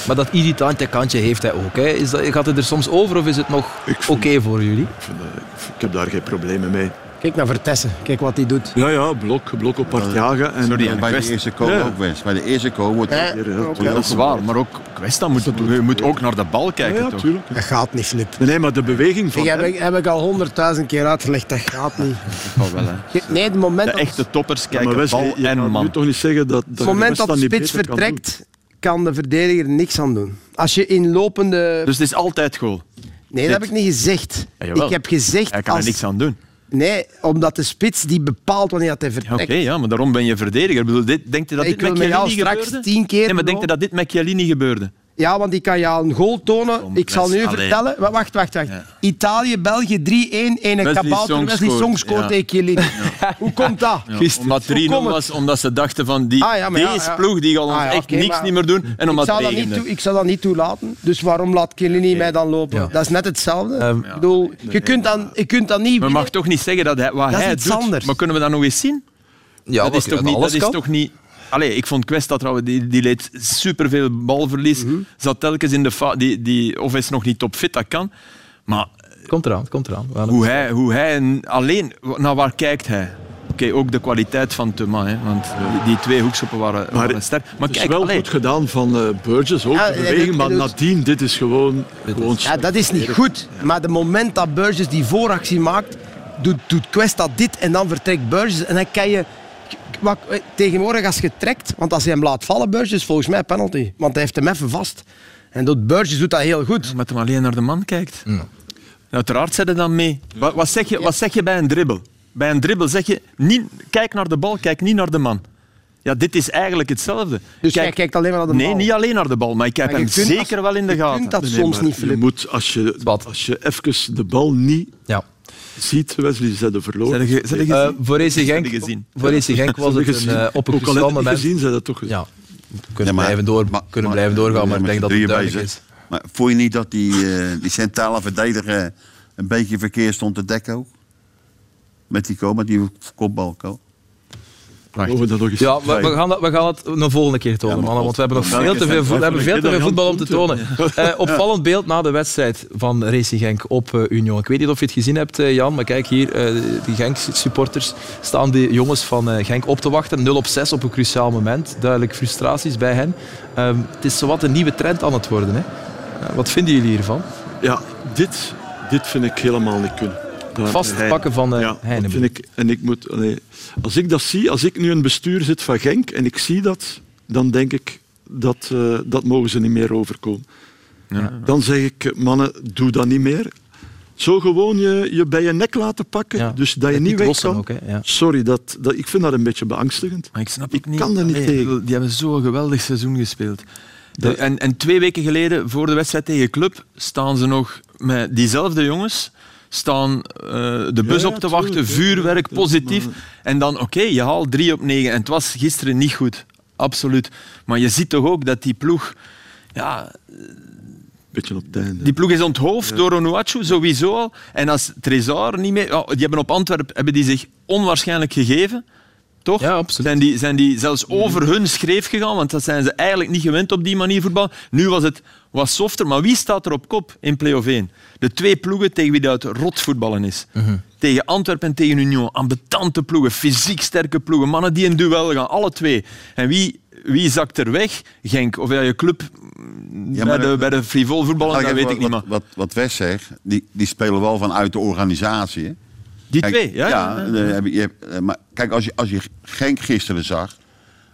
S2: Maar dat irritante kantje heeft hij ook. Hè. Is dat, gaat het er soms over of is het nog
S6: Ik
S2: oké
S6: vind-
S2: voor jullie?
S6: Ik, vind, eh, ik vind- ik heb daar geen problemen mee.
S7: kijk naar Vertessen. Kijk wat hij doet.
S6: Ja, ja, blok, blok op hard jagen. En,
S4: Sorry, Eh, bij
S5: West.
S4: de eerste co
S6: Ja.
S4: ook, Wes. Bij de eerste co wordt...
S7: Eh,
S6: Hier, heel
S5: Ja,
S6: goed.
S5: dat is waar, maar ook Questa moet, je moet ook naar de bal
S6: Ja,
S5: kijken.
S6: ja,
S5: toch?
S6: tuurlijk.
S7: Dat gaat niet, Flip.
S6: Nee, nee, maar de beweging van
S7: Ik heb,
S6: hem,
S7: ik- heb ik al honderdduizend keer uitgelegd, dat gaat niet.
S5: Wel, wel, hè.
S7: Je- Nee, het moment
S5: De
S7: dat,
S5: echte toppers
S6: Ja,
S5: kijken
S6: Wes, je-
S5: bal
S6: je
S5: en
S6: kan nu
S5: man.
S6: toch niet zeggen dat... dat
S7: het moment
S6: Wes
S7: dat de
S6: dat niet
S7: spits
S6: beter kan
S7: vertrekt, kan de verdediger niks aan doen. Als je inlopende...
S5: Dus het is altijd goal.
S7: nee, dat heb ik niet gezegd.
S5: Ja, jawel.
S7: ik heb gezegd...
S5: Hij kan er
S7: als-
S5: niks aan doen.
S7: Nee, omdat de spits die bepaalt wanneer dat hij
S5: Ja, Oké,
S7: vertrekt.
S5: ja, maar daarom ben je verdediger. Ik bedoel, dit, denkt je dat
S7: Ik
S5: dit
S7: wil
S5: met
S7: met jou
S5: Chiellini
S7: straks
S5: gebeurde?
S7: tien keer...
S5: Nee, maar denk je
S7: beloven?
S5: dat dit met Chiellini gebeurde?
S7: Ja, want die kan je al een goal tonen. Ik zal nu
S5: Allee.
S7: vertellen. wa- Wacht, wacht, wacht. Italië, België 3-1. Ene
S5: Wesley
S7: kabouter,
S5: Song
S7: Wesley Song
S5: scoort,
S7: scoort
S5: ja.
S7: tegen Chiellini. Hoe komt dat?
S5: Ja, omdat 3-0 was, omdat ze dachten van die,
S7: Ah, ja, maar ja,
S5: deze
S7: ja.
S5: ploeg die gaat ons
S7: Ah, ja,
S5: echt
S7: oké,
S5: niks
S7: maar
S5: niet meer doen. En
S7: Ik
S5: omdat
S7: zal,
S5: het
S7: dat niet
S5: regende.
S7: toe, ik zal dat niet toelaten. Dus waarom laat Chiellini mij dan lopen? Dat is net hetzelfde. ik bedoel, je, kunt dan, je kunt dan niet...
S5: Ehm, Maar mag toch niet zeggen dat hij, wat
S7: Dat is
S5: hij
S7: iets
S5: doet.
S7: anders.
S5: Maar kunnen we dat nog eens zien?
S2: Ja,
S5: dat
S2: wat-
S5: is toch
S2: dat
S5: niet.
S2: alles
S5: Dat is
S2: kan?
S5: toch niet Allee, ik vond Questa trouwens, die, die leed superveel balverlies.
S7: Mhm.
S5: Zat telkens in de fa die, die, Of is nog niet topfit, dat kan. Maar
S2: Komt eraan, komt eraan. Wel,
S5: hoe hij, hoe hij een- alleen, wa- naar waar kijkt hij? Oké, ook de kwaliteit van Thomas, hè, want die- die twee hoekschoppen waren, waren sterk. Maar
S6: Het is
S5: kijk,
S6: wel
S5: allee,
S6: goed gedaan van eh, Burgess, ook
S7: Ja,
S6: de
S7: ja,
S6: beweging,
S7: dat-
S6: maar
S7: dat-
S6: nadien, dit is gewoon... gewoon
S7: Ja, dat is niet goed. Maar de moment dat Burgess die vooractie maakt, doet, doet Questa dit en dan vertrekt Burgess. En dan kan je... Wat, eh, tegenwoordig als je trekt, want als hij hem laat vallen, Burgess, volgens mij penalty. Want hij heeft hem even vast. En dat Burgess doet dat heel goed.
S5: omdat hij alleen naar de man kijkt. Uiteraard zet hij dan mee. Wat, wat, zeg je, wat zeg je bij een dribbel? Bij een dribbel zeg je, niet, kijk naar de bal, kijk niet naar de man. Ja, dit is eigenlijk hetzelfde.
S7: Dus jij kijkt alleen maar naar de
S5: nee,
S7: bal.
S5: niet alleen naar de bal, maar ik heb
S7: Maar je
S5: hem
S7: kunt
S5: zeker
S7: dat-
S5: wel in de
S7: je
S5: gaten.
S7: kunt dat
S6: Nee,
S7: soms
S6: maar
S7: niet,
S6: Je
S7: Filip.
S6: moet, als je, als je even de bal niet
S2: Ja.
S6: ziet, Wesley, ze hebben verloren.
S5: Zijn je- zijn je
S2: Eh,
S5: gezien?
S2: voor AC Genk,
S5: Zijn je gezien?
S2: voor AC Genk was het een,
S6: Gezien.
S2: eh, op een
S6: Ook al heb
S2: gespannen
S6: je het
S2: moment.
S6: gezien, ze dat toch gezien.
S2: Ja, kunnen, blijven, door, kunnen blijven doorgaan, maar ik denk dat het duidelijk is.
S4: Maar voel je niet dat die, eh, die centrale verdediger eh, een beetje verkeer stond te dekken ook? Met die ko, met die kopbal ko.
S6: Mogen we dat nog eens
S2: Ja, we, we gaan dat, we gaan het een volgende keer tonen,
S4: Ja, maar
S2: mannen, want we hebben nog
S4: welke
S2: veel te
S4: zijn-
S2: veel, vo- we
S4: welke
S2: hebben veel, te
S6: keer
S2: veel
S6: dat
S2: voetbal om
S6: Jan
S2: te tonen. Eh, opvallend beeld na de wedstrijd van Racing Genk op eh, Union. Ik weet niet of je het gezien hebt, eh, Jan, maar kijk hier, eh die Genk-supporters staan die jongens van eh, Genk op te wachten. 0 op 6 op een cruciaal moment. Duidelijk frustraties bij hen. Ehm, het is zowat een nieuwe trend aan het worden. Hè. Eh, wat vinden jullie hiervan?
S6: Ja, dit, dit vind ik helemaal niet kunnen. Daar-
S2: Vastpakken van eh
S6: Ja, dat
S2: Heinemann.
S6: vind ik, en ik moet, nee, als ik dat zie, als ik nu een bestuur zit van Genk en ik zie dat, dan denk ik dat eh, dat mogen ze niet meer overkomen. Dan zeg ik, eh, mannen, doe dat niet meer. Zo gewoon je, je bij je nek laten pakken,
S2: Ja,
S6: dus dat je
S2: het
S6: niet
S2: niet
S6: weg
S2: lossen
S6: kan.
S2: ook, hè, ja.
S6: Sorry, dat, dat, ik vind dat een beetje beangstigend.
S5: Maar ik snap
S6: Ik
S5: het niet.
S6: kan daar niet
S5: Allee,
S6: tegen.
S5: ik bedoel, Die hebben zo'n geweldig seizoen gespeeld. De- en, en twee weken geleden, voor de wedstrijd tegen Club, staan ze nog met diezelfde jongens staan eh, de bus
S6: ja,
S5: op te wachten,
S6: tuurlijk, tuurlijk,
S5: vuurwerk,
S6: tuurlijk,
S5: positief.
S6: maar-
S5: En dan, oké, je haalt drie op negen. En het was gisteren niet goed, absoluut. Maar je ziet toch ook dat die ploeg... Ja,
S6: Beetje op het einde.
S5: die ploeg is onthoofd door Onuachu, sowieso al. En als Trezor niet meer... oh, die hebben op Antwerpen hebben die zich onwaarschijnlijk gegeven. Toch?
S2: Ja, absoluut.
S5: Zijn die, zijn die zelfs over hun schreef gegaan, want dat zijn ze eigenlijk niet gewend op die manier voetbal. Nu was het wat softer, maar wie staat er op kop in play-off 1? De twee ploegen tegen wie dat rot voetballen is. Tegen Antwerpen en tegen Union. Ambetante ploegen, fysiek sterke ploegen, mannen die in duel gaan, alle twee. En wie, wie zakt er weg? Genk, of ja, je club
S4: Ja,
S5: bij,
S4: maar
S5: de,
S4: dat-
S5: bij de frivol
S2: Nou,
S5: voetballen, Oh, dat
S4: Eigenlijk
S5: weet ik niet,
S4: Nou, wat,
S5: maar...
S4: Wat, wat Wes zegt, die, die spelen wel vanuit de organisatie. hè.
S5: Die
S4: Kijk,
S5: twee, ja. ja, ja.
S4: dan heb je- je hebt- eh, maar kijk, als je, als je Genk gisteren zag,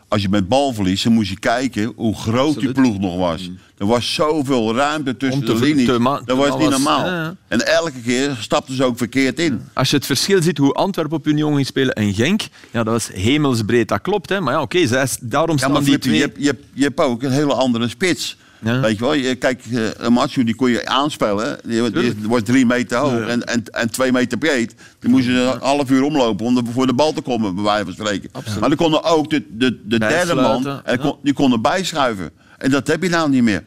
S4: als je met balverlies, dan moest je kijken hoe groot die ploeg nog was. Er was zoveel ruimte tussen
S5: Mm. Om te
S4: de
S5: ver-
S4: linies.
S5: te ma- te
S4: dat was niet
S5: alles-
S4: normaal.
S5: ja, ja.
S4: En elke keer stapten ze ook verkeerd in.
S5: Als je het verschil ziet hoe Antwerpen op Union ging spelen en Genk, ja, dat was hemelsbreed, dat klopt. Hè. Maar ja, oké, zij- daarom
S4: Ja,
S5: staan
S4: maar
S5: die
S4: Flip, je,
S5: twee...
S4: hebt- je, hebt- je hebt ook een hele andere spits.
S5: Ja.
S4: Weet je wel, je, kijk, eh, een macho die kon je aanspelen. Die, die wordt drie meter hoog en, en, en twee meter breed. Die moest je een half uur omlopen om de- voor de bal te komen, bij wijze van spreken. Maar dan kon er ook de, de, de derde man,
S5: Bijsluiten,
S4: en kon, die kon erbij schuiven. En dat heb je nou niet meer.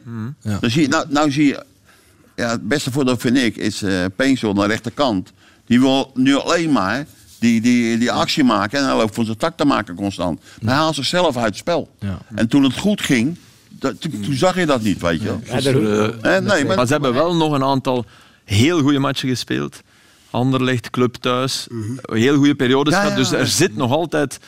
S4: Dan zie je, nou, nou zie je, ja, het beste voordeel vind ik, is eh Peensel aan de rechterkant. Die wil nu alleen maar die, die, die actie maken. En hij loopt van zijn tak te maken constant. Maar hij haalt zichzelf uit het spel.
S2: Ja.
S4: En toen het goed ging, dat, toen, toen zag je dat niet, weet je wel. Eh, nee, maar,
S5: Maar ze hebben wel nog een aantal heel goede matchen gespeeld. Anderlecht, club thuis. Heel goede periodes
S4: Mhm. Ja, ja,
S5: gehad. Dus
S4: ja.
S5: er zit nog altijd...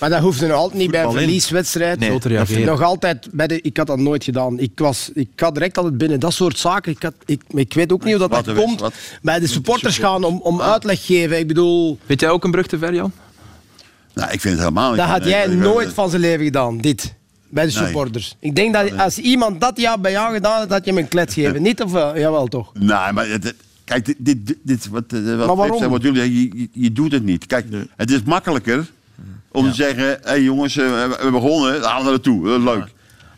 S7: Maar dat hoeft nog altijd niet bij een
S5: Voetbal in.
S7: verlieswedstrijd.
S5: Nee, Zo te
S2: reageren.
S7: Nog altijd bij de, ik had dat nooit gedaan. Ik, was, ik had direct altijd binnen dat soort zaken. Ik, had, ik, maar ik weet ook niet hoe dat,
S4: Wat
S7: dat
S4: er is,
S7: komt.
S4: wat-
S7: Bij de supporters gaan om, om
S5: Ah.
S7: uitleg geven. Ik bedoel,
S2: Vind jij ook een brug te ver, Jan?
S4: nou, ik vind het helemaal niet.
S7: dat had
S4: Nee,
S7: jij
S4: nee,
S7: nooit
S4: nee.
S7: van zijn leven gedaan, dit. Bij de
S4: Nee.
S7: supporters. Ik denk dat als iemand dat ja bij jou gedaan had, had je hem een klets gegeven. Niet of wel? Jawel toch?
S4: Nee, maar het- het- kijk, dit, dit, dit- dit wat, eh, wat,
S7: waarom?
S4: Pep zei, wat jullie, zeggen, je, je, je doet het niet. Kijk, het is makkelijker om te zeggen, hé hey, jongens, eh, we we hebben gewonnen, halen we naartoe, eh, leuk.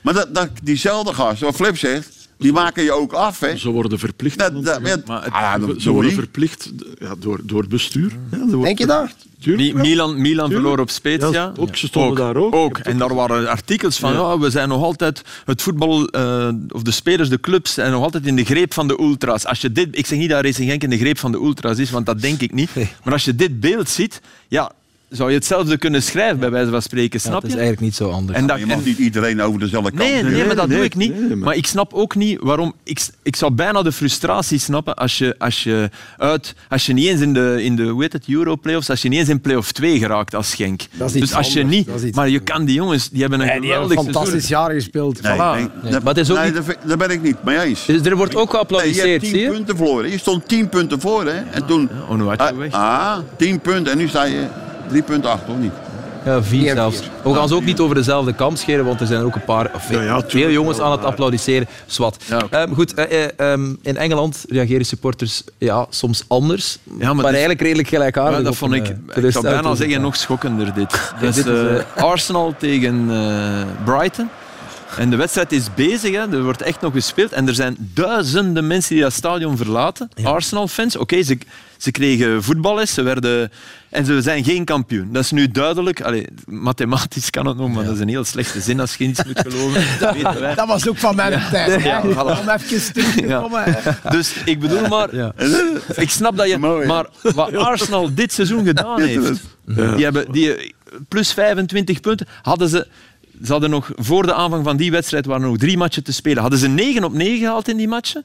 S4: Maar dat, dat, diezelfde gasten, wat Flip zegt, die maken je ook af. Hè.
S6: Ze worden verplicht.
S4: Dat, dat, ja, ah, ja, dat-
S6: Ze
S4: sorry.
S6: worden verplicht ja, door, door het bestuur. Ja, ze worden
S7: Denk je dat?
S6: Tuurlijk,
S5: Mi-
S6: ja.
S5: Milan, Milan
S6: Tuurlijk.
S5: verloor op Spezia.
S6: Ja, ook, ze stonden daar ook.
S5: En daar waren artikels van,
S6: Ja.
S5: ja. we zijn nog altijd het voetbal, eh, of de spelers, de clubs, zijn nog altijd in de greep van de ultras. Als je dit, ik zeg niet dat Racing Genk in de greep van de ultras is, want dat denk ik niet. Maar als je dit beeld ziet, ja, zou je hetzelfde kunnen schrijven, bij wijze van spreken, snap
S2: het is
S5: je?
S2: eigenlijk niet zo anders.
S5: En dat,
S4: Je mag
S5: en-
S4: niet iedereen over dezelfde kant.
S5: Nee, nee,
S4: duwen.
S5: maar dat
S6: nee,
S5: doe ik niet.
S6: nee, maar-
S5: maar... ik snap ook niet waarom. Ik, ik zou bijna de frustratie snappen als je, als je, uit, als je niet eens in de, in de hoe heet het, Euro playoffs, als je niet eens in playoff 2 geraakt als Genk.
S7: Dat is iets
S5: dus als je
S7: anders,
S5: niet.
S7: dat is iets
S5: Maar je kan die jongens, die hebben een
S7: Nee, die hebben
S5: geweldig
S7: een fantastisch
S5: seizoen.
S7: jaar gespeeld.
S4: Nee,
S7: Voilà.
S4: nee,
S2: Nee,
S4: dat-
S2: maar het is ook
S4: nee,
S2: niet-
S4: daar vind- daar ben ik niet mee eens.
S2: Dus er wordt ook
S4: Nee, je hebt
S2: geapplaudisseerd, zie
S4: 10
S2: je? Ah, oh, nou
S4: punten verloren. Je stond 10 punten voor, hè? en toen.
S5: Onuatje weg.
S4: Ah, 10 punten. En nu sta je 3 punten achter, of niet?
S2: Ja, vier
S7: Vier,
S2: zelfs.
S7: vier.
S2: We gaan ze ook niet over dezelfde kam scheren, want er zijn er ook een paar, of
S6: Ja, ja,
S2: veel
S6: tuurlijk,
S2: jongens
S6: maar-
S2: aan het applaudisseren. Zwat.
S5: Ja, oké.
S2: Ehm, goed, eh, eh, ehm, in Engeland reageren supporters ja, soms anders, maar,
S5: maar het is-
S2: eigenlijk redelijk
S5: Ja,
S2: gelijkaardig.
S5: dat
S2: op een,
S5: vond ik,
S2: eh,
S5: ik zou
S2: teleurstellend
S5: bijna
S2: resultaat.
S5: zeggen, nog schokkender dit. Dus,
S2: dit is,
S5: eh, Arsenal tegen eh, Brighton. En de wedstrijd is bezig, hè. er wordt echt nog gespeeld. En er zijn duizenden mensen die dat stadion verlaten. Arsenal-fans, oké, ze, ze kregen voetballes, ze werden... En ze zijn geen kampioen. Dat is nu duidelijk. Allee, mathematisch kan het nog, maar dat is een heel slechte zin als je iets moet geloven. Dat weten wij.
S7: Dat was ook van mijn tijd.
S5: Ja,
S7: hè.
S5: voilà.
S7: Om even terug te
S5: Ja.
S7: komen. hè.
S5: Dus ik bedoel maar, ik snap dat je,
S4: Mooi, hè?
S5: maar wat Arsenal dit seizoen gedaan heeft, die hebben die, plus 25 punten, hadden ze, ze hadden nog voor de aanvang van die wedstrijd waren er nog drie matchen te spelen, hadden ze 9 op 9 gehaald in die matchen,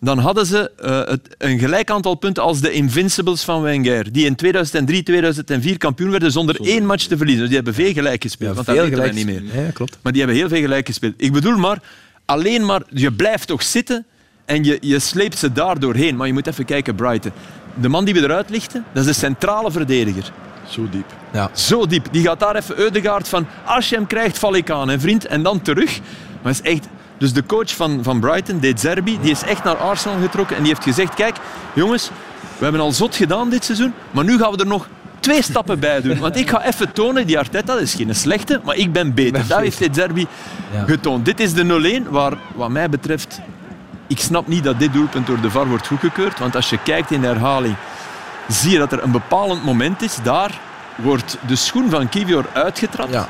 S5: dan hadden ze eh, het, een gelijk aantal punten als de Invincibles van Wenger, die in 2003, 2004 kampioen werden zonder één match te verliezen. Dus die hebben veel gelijk gespeeld,
S2: Ja,
S5: want
S2: veel
S5: dat weten wij
S2: gelijk.
S5: niet meer.
S2: Ja, klopt.
S5: Maar die hebben heel veel gelijk gespeeld. Ik bedoel maar, alleen maar, je blijft toch zitten en je, je sleept ze daar doorheen. Maar je moet even kijken, Brighton. De man die we eruit lichten, dat is de centrale verdediger.
S6: Zo diep.
S5: Zo diep. Die gaat daar even Eudegaard van, als je hem krijgt, val ik aan, hè, vriend. En dan terug. Maar is echt... Dus de coach van, van Brighton, De Zerbi, die is echt naar Arsenal getrokken en die heeft gezegd, kijk, jongens, we hebben al zot gedaan dit seizoen, maar nu gaan we er nog twee stappen bij doen. Want ik ga even tonen, die Arteta dat is geen slechte, maar ik ben beter. Dat heeft De Zerbi
S2: Ja.
S5: getoond. Dit is de 0-1 waar, wat mij betreft, ik snap niet dat dit doelpunt door de VAR wordt goedgekeurd. Want als je kijkt in de herhaling, zie je dat er een bepalend moment is. Daar wordt de schoen van Kivior uitgetrapt.
S2: Ja.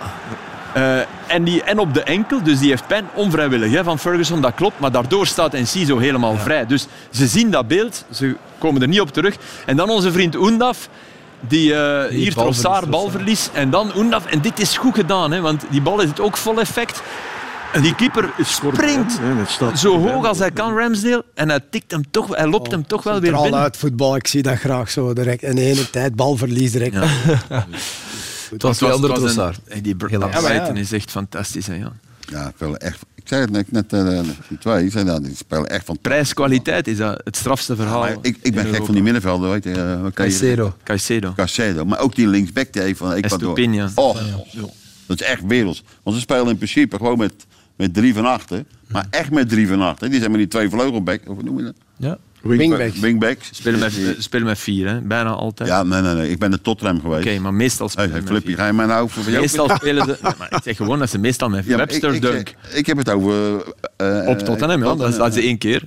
S5: Eh, en, die, en op de enkel, dus die heeft pijn, onvrijwillig hè, van Ferguson, dat klopt. Maar daardoor staat Enciso helemaal vrij. Dus ze zien dat beeld, ze komen er niet op terug. En dan onze vriend Oendaf, die, eh, hier
S2: balverlies, dus,
S5: Trossard balverlies. En dan Oendaf, en dit is goed gedaan, hè, want die bal is het ook vol effect. Die keeper springt
S6: Nee, het staat
S5: zo hoog als hij kan, Ramsdale. En hij tikt hem toch, hij
S4: Oh,
S5: loopt hem toch wel weer
S7: Centraal
S5: binnen.
S7: uit voetbal, ik zie dat graag zo direct. In de ene tijd, balverlies direct.
S5: Ja.
S2: Het was wel onder Trossard.
S5: Hey, die
S2: Helaas.
S5: Brighton
S7: Ja, maar ja.
S5: is echt fantastisch. Hè, ja.
S4: Ja, spelen echt. Ik zei het net, net eh, die twee, ik zei dat, die spelen echt van.
S5: Prijs-kwaliteit is dat het strafste verhaal.
S4: Maar ik, ik ben
S5: in
S4: gek van die middenvelden, weet je. eh, wat kan je-
S2: Caicedo.
S5: Caicedo.
S4: Caicedo, maar ook die linksback die heeft van Ecuador.
S5: Estupiñan.
S4: Oh, dat is echt werelds. Want ze spelen in principe gewoon met, met drie van achter. Maar echt met drie van achter. Die zijn met die twee vleugelbacks, of hoe noem je dat?
S2: Ja.
S7: Wingback.
S4: Wingbacks.
S5: Spelen met, eh, spelen met vier, hè? bijna altijd.
S4: Ja, nee, nee, nee. Ik ben naar Tottenham geweest.
S5: Oké, maar meestal
S4: Hey,
S5: spelen
S4: hey,
S5: met
S4: Flippy,
S5: vier.
S4: ga je mij nou over jou-
S5: Meestal spelen ze... Maar ik zeg gewoon dat ze meestal met vier.
S4: Ja, maar
S5: Webster,
S4: ik, ik,
S5: Dunk.
S4: ik heb het over... eh, eh,
S5: Op Tottenham, ja. Dat is- dat is één keer.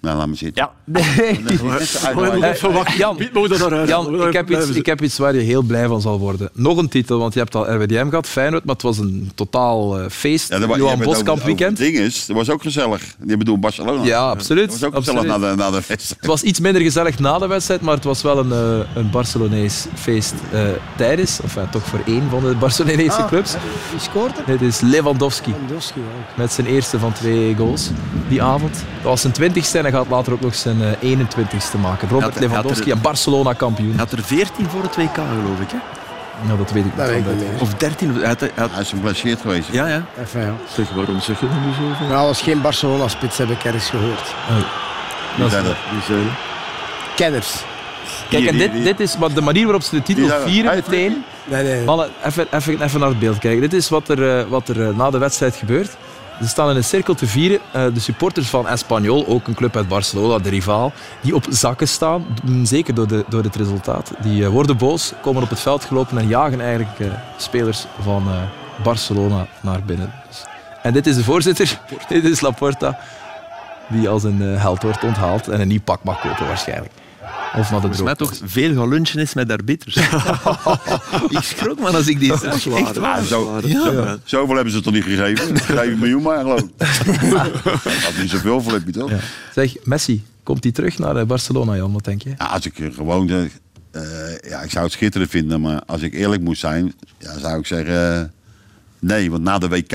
S4: Nou, laat me zitten.
S5: Ja.
S4: Nee, dat is net zo
S6: Maar je moet
S4: uitwaaien.
S6: even wachten.
S2: Jan,
S6: Piet, moet dat eruit? Moet
S2: Jan,
S6: dat
S2: ik heb,
S6: even
S2: iets, ik heb iets waar je heel blij van zal worden. Nog een titel, want je hebt al RWDM gehad, Feyenoord, maar het was een totaal eh, feest.
S4: Ja, dat wa- je
S2: Johan
S4: hebt het over-
S2: Boskamp
S4: over
S2: weekend.
S4: Dinges, dat was ook gezellig. Ik bedoel, Barcelona.
S2: Ja,
S4: Dat
S2: absoluut.
S4: was ook gezellig
S2: absoluut.
S4: na de, na de wedstrijd.
S2: Het was iets minder gezellig na de wedstrijd, maar het was wel een, eh, een Barcelonees feest eh, tijdens. Of ja, toch voor één van de Barcelonese clubs.
S7: Wie scoort er?
S2: Dit is Lewandowski
S7: Lewandowski ook.
S2: met zijn eerste van twee goals die avond. Dat was zijn twintigste en hij gaat later ook nog zijn eh, 21ste maken. Robert
S5: Had- had
S2: Lewandowski
S5: er-
S2: en Barcelona kampioen.
S5: Hij had er 14 voor het WK, geloof ik. Hè?
S2: Nou, dat weet ik niet.
S7: Dat weet ik niet meer.
S5: Of 13. Hij had, hij had-
S4: Hij is geblesseerd geweest.
S5: ja, ja.
S7: Enfin, ja.
S6: Zeg, waarom zeg je dat nu zo?
S7: Nou, dat is geen Barcelona-spits, heb ik ergens gehoord.
S4: Die zijn er.
S6: Die zei-
S7: Kenners.
S2: Kijk, en
S4: Hier,
S2: dit,
S4: hier,
S2: dit is wat de manier waarop ze de titel
S4: Die daar-
S2: vieren
S4: Hij-
S2: meteen.
S7: Nee, nee.
S2: Mannen, even, even, even naar het beeld kijken. Dit is wat er, eh, wat er eh, na de wedstrijd gebeurt. Ze staan in een cirkel te vieren. Eh, de supporters van Espanyol, ook een club uit Barcelona, de rivaal, die op zakken staan. Mm, Zeker door, de, door het resultaat. Die eh, worden boos, komen op het veld gelopen en jagen eigenlijk eh, spelers van eh, Barcelona naar binnen. Dus En dit is de voorzitter, dit is Laporta, die als een eh, held wordt onthaald en een nieuw pak mag kopen waarschijnlijk. Of naar de
S5: Volgens mij
S2: droogte.
S5: toch veel gaan lunchen is met arbiters. ik schrok maar als ik die zag. Echt waar.
S4: "Ah, Zo,
S5: Ja.
S4: zo- zoveel hebben ze toch niet gegeven? 7 miljoen maar, geloof ik. Dat is niet zoveel voor heb je toch?
S2: Zeg, Messi, komt hij terug naar eh, Barcelona, Jan? Wat denk je?
S4: Ja, als ik er gewoon. de- eh, ja, ik zou het schitterend vinden, maar als ik eerlijk moest zijn, ja, zou ik zeggen. eh, nee, want na de WK.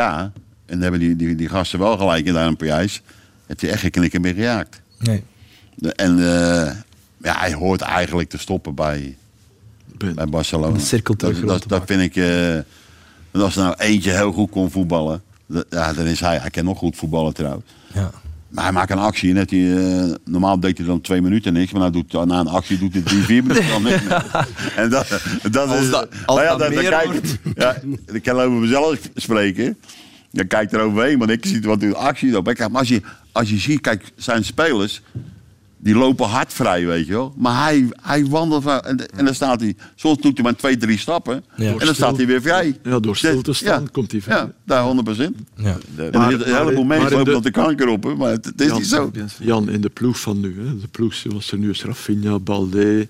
S4: En hebben die, die, die gasten wel gelijk in daar in Parijs. Heb je echt geen knikker meer geraakt.
S9: Nee.
S4: De- En eh, ja, hij hoort eigenlijk te stoppen bij, bij Barcelona.
S2: cirkel terug
S4: Dat,
S2: rond
S4: dat,
S2: te
S4: dat vind ik. eh, want als er nou eentje heel goed kon voetballen. dat- Ja, dan is hij. Hij kan nog goed voetballen trouwens.
S2: Ja.
S4: Maar hij maakt een actie. Net die, eh, normaal deed hij dan twee minuten niks. Maar nou doet, na een actie doet hij drie, vier minuten dan niks meer. En dat, dat
S5: Als
S4: is...
S5: dat- als
S4: nou ja,
S5: dat
S4: dan- dan
S5: meer
S4: kijk-
S5: wordt.
S4: ja, ik kan over mezelf spreken. Dan kijk ik er overheen. Want ik zie wat de actie op. Maar als je, als je ziet, kijk, zijn spelers... Die lopen hard vrij, weet je wel. Maar hij, hij wandelt... vrij. En, en dan staat hij... Soms doet hij maar twee, drie stappen.
S6: Ja.
S4: En dan staat hij weer vrij.
S6: Ja, door stil te
S4: Dus-
S6: staan
S4: ja.
S6: komt hij vrij.
S4: Ja, daar 100%.
S2: Ja.
S4: En er zitten een heleboel mensen
S6: in
S4: lopen dat de kanker op, hè, maar het, het is
S6: Jan,
S4: niet zo.
S6: Jan, in de ploeg van nu, hè, de ploeg zoals er nu is, Rafinha, Balde,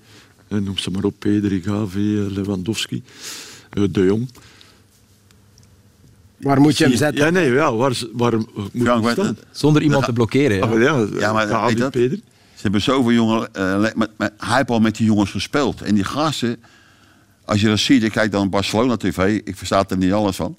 S6: eh, noem ze maar op, Pedri, Gavi, eh, Lewandowski, eh, De Jong.
S7: Waar moet je hem zetten?
S6: Ja, nee, ja, waar, waar moet je hem staan?
S2: Zonder iemand te blokkeren.
S6: Ah,
S2: Ja.
S6: wel ja,
S4: Ja, maar
S6: Gavi,
S4: weet je dat?
S6: Pedri.
S4: Ze hebben zoveel jongen. eh, le- maar, maar hij heeft al met die jongens gespeeld. En die gasten, als je dat ziet, ik kijk dan Barcelona TV, ik versta er niet alles van.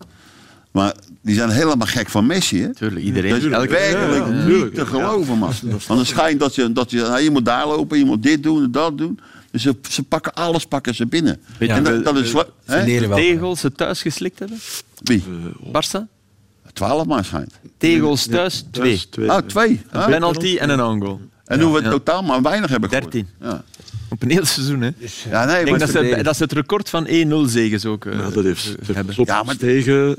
S4: Maar die zijn helemaal gek van Messi, hè?
S5: Tuurlijk, iedereen.
S4: dat is
S5: elke-
S4: werkelijk
S5: Ja, ja.
S4: niet te geloven, man. Want het schijnt dat je, dat je, nou, je moet daar lopen, je moet dit doen en dat doen. Dus ze, ze pakken alles pakken ze binnen.
S5: Weet je, eh,
S4: en
S5: de-
S4: dat, dat is...
S5: de-
S4: hè?
S5: De tegels ze thuis geslikt hebben?
S4: Wie?
S5: Barça?
S4: Twaalf maar schijnt.
S5: Tegels thuis, twee.
S6: Thuis, twee.
S4: Ah, twee.
S5: Een
S4: Ah.
S5: penalty en een own goal.
S4: En hoe we
S5: Eh, Ja.
S4: totaal maar weinig hebben gehoord.
S5: 13.
S4: Ja.
S5: Op een heel seizoen, hè.
S4: ja, nee,
S5: Ik
S4: maar
S5: denk dat, ze, dat ze het record van 1-0 zegens ook eh,
S6: Ja, dat heeft, dat heeft
S5: hebben.
S6: slot
S4: Ja, maar-
S6: tegen.